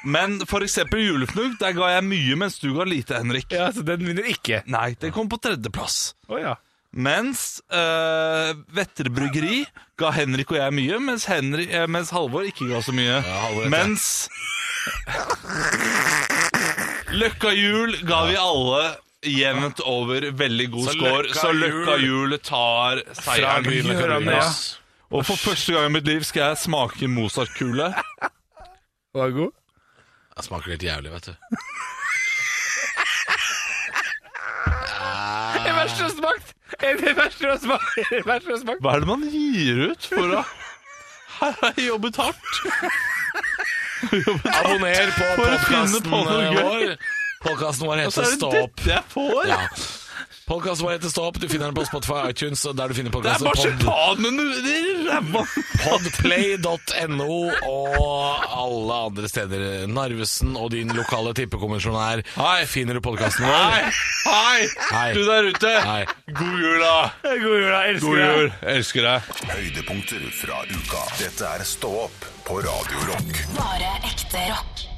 Men for eksempel julefnugg, der ga jeg mye, mens du ga lite, Henrik. Ja, så Den altså, vinner ikke. Nei, den kom på tredjeplass. Å ja. Mens uh, Vetterbryggeri ga Henrik og jeg mye, mens, Henri- eh, mens Halvor ikke ga så mye. Halvor, mens Løkka Jul ga vi alle jevnt over veldig god Så score, Løkka så Løkka Jul tar Fra seieren. byen med Karinas. Og for første gang i mitt liv skal jeg smake Mozart-kule. Var det god? Det smaker helt jævlig, vet du. Det verste du har smakt! Er Det verste du har smakt! Er Det verste du har smakt! Hva er det man gir ut for å Her har jeg jobbet hardt. Abonner på For å finne podkasten på noe gøy. vår. Podkasten vår Og så heter er det Stå opp. dette jeg får. Ja. Podkasten vår heter Stå opp. Du finner den på Spotify, iTunes og der du finner Det er podkaster. marsipanen i ræva. Podplay.no og alle andre steder. Narvesen og din lokale tippekommisjonær. Hei. Finner du podkasten vår? Hei, hei, Hei. du der ute. Hei. God jul, da. God jul, da. Elsker God deg. jul. Elsker deg. Høydepunkter fra uka. Dette er Stå opp på Radio Rock. Bare ekte rock.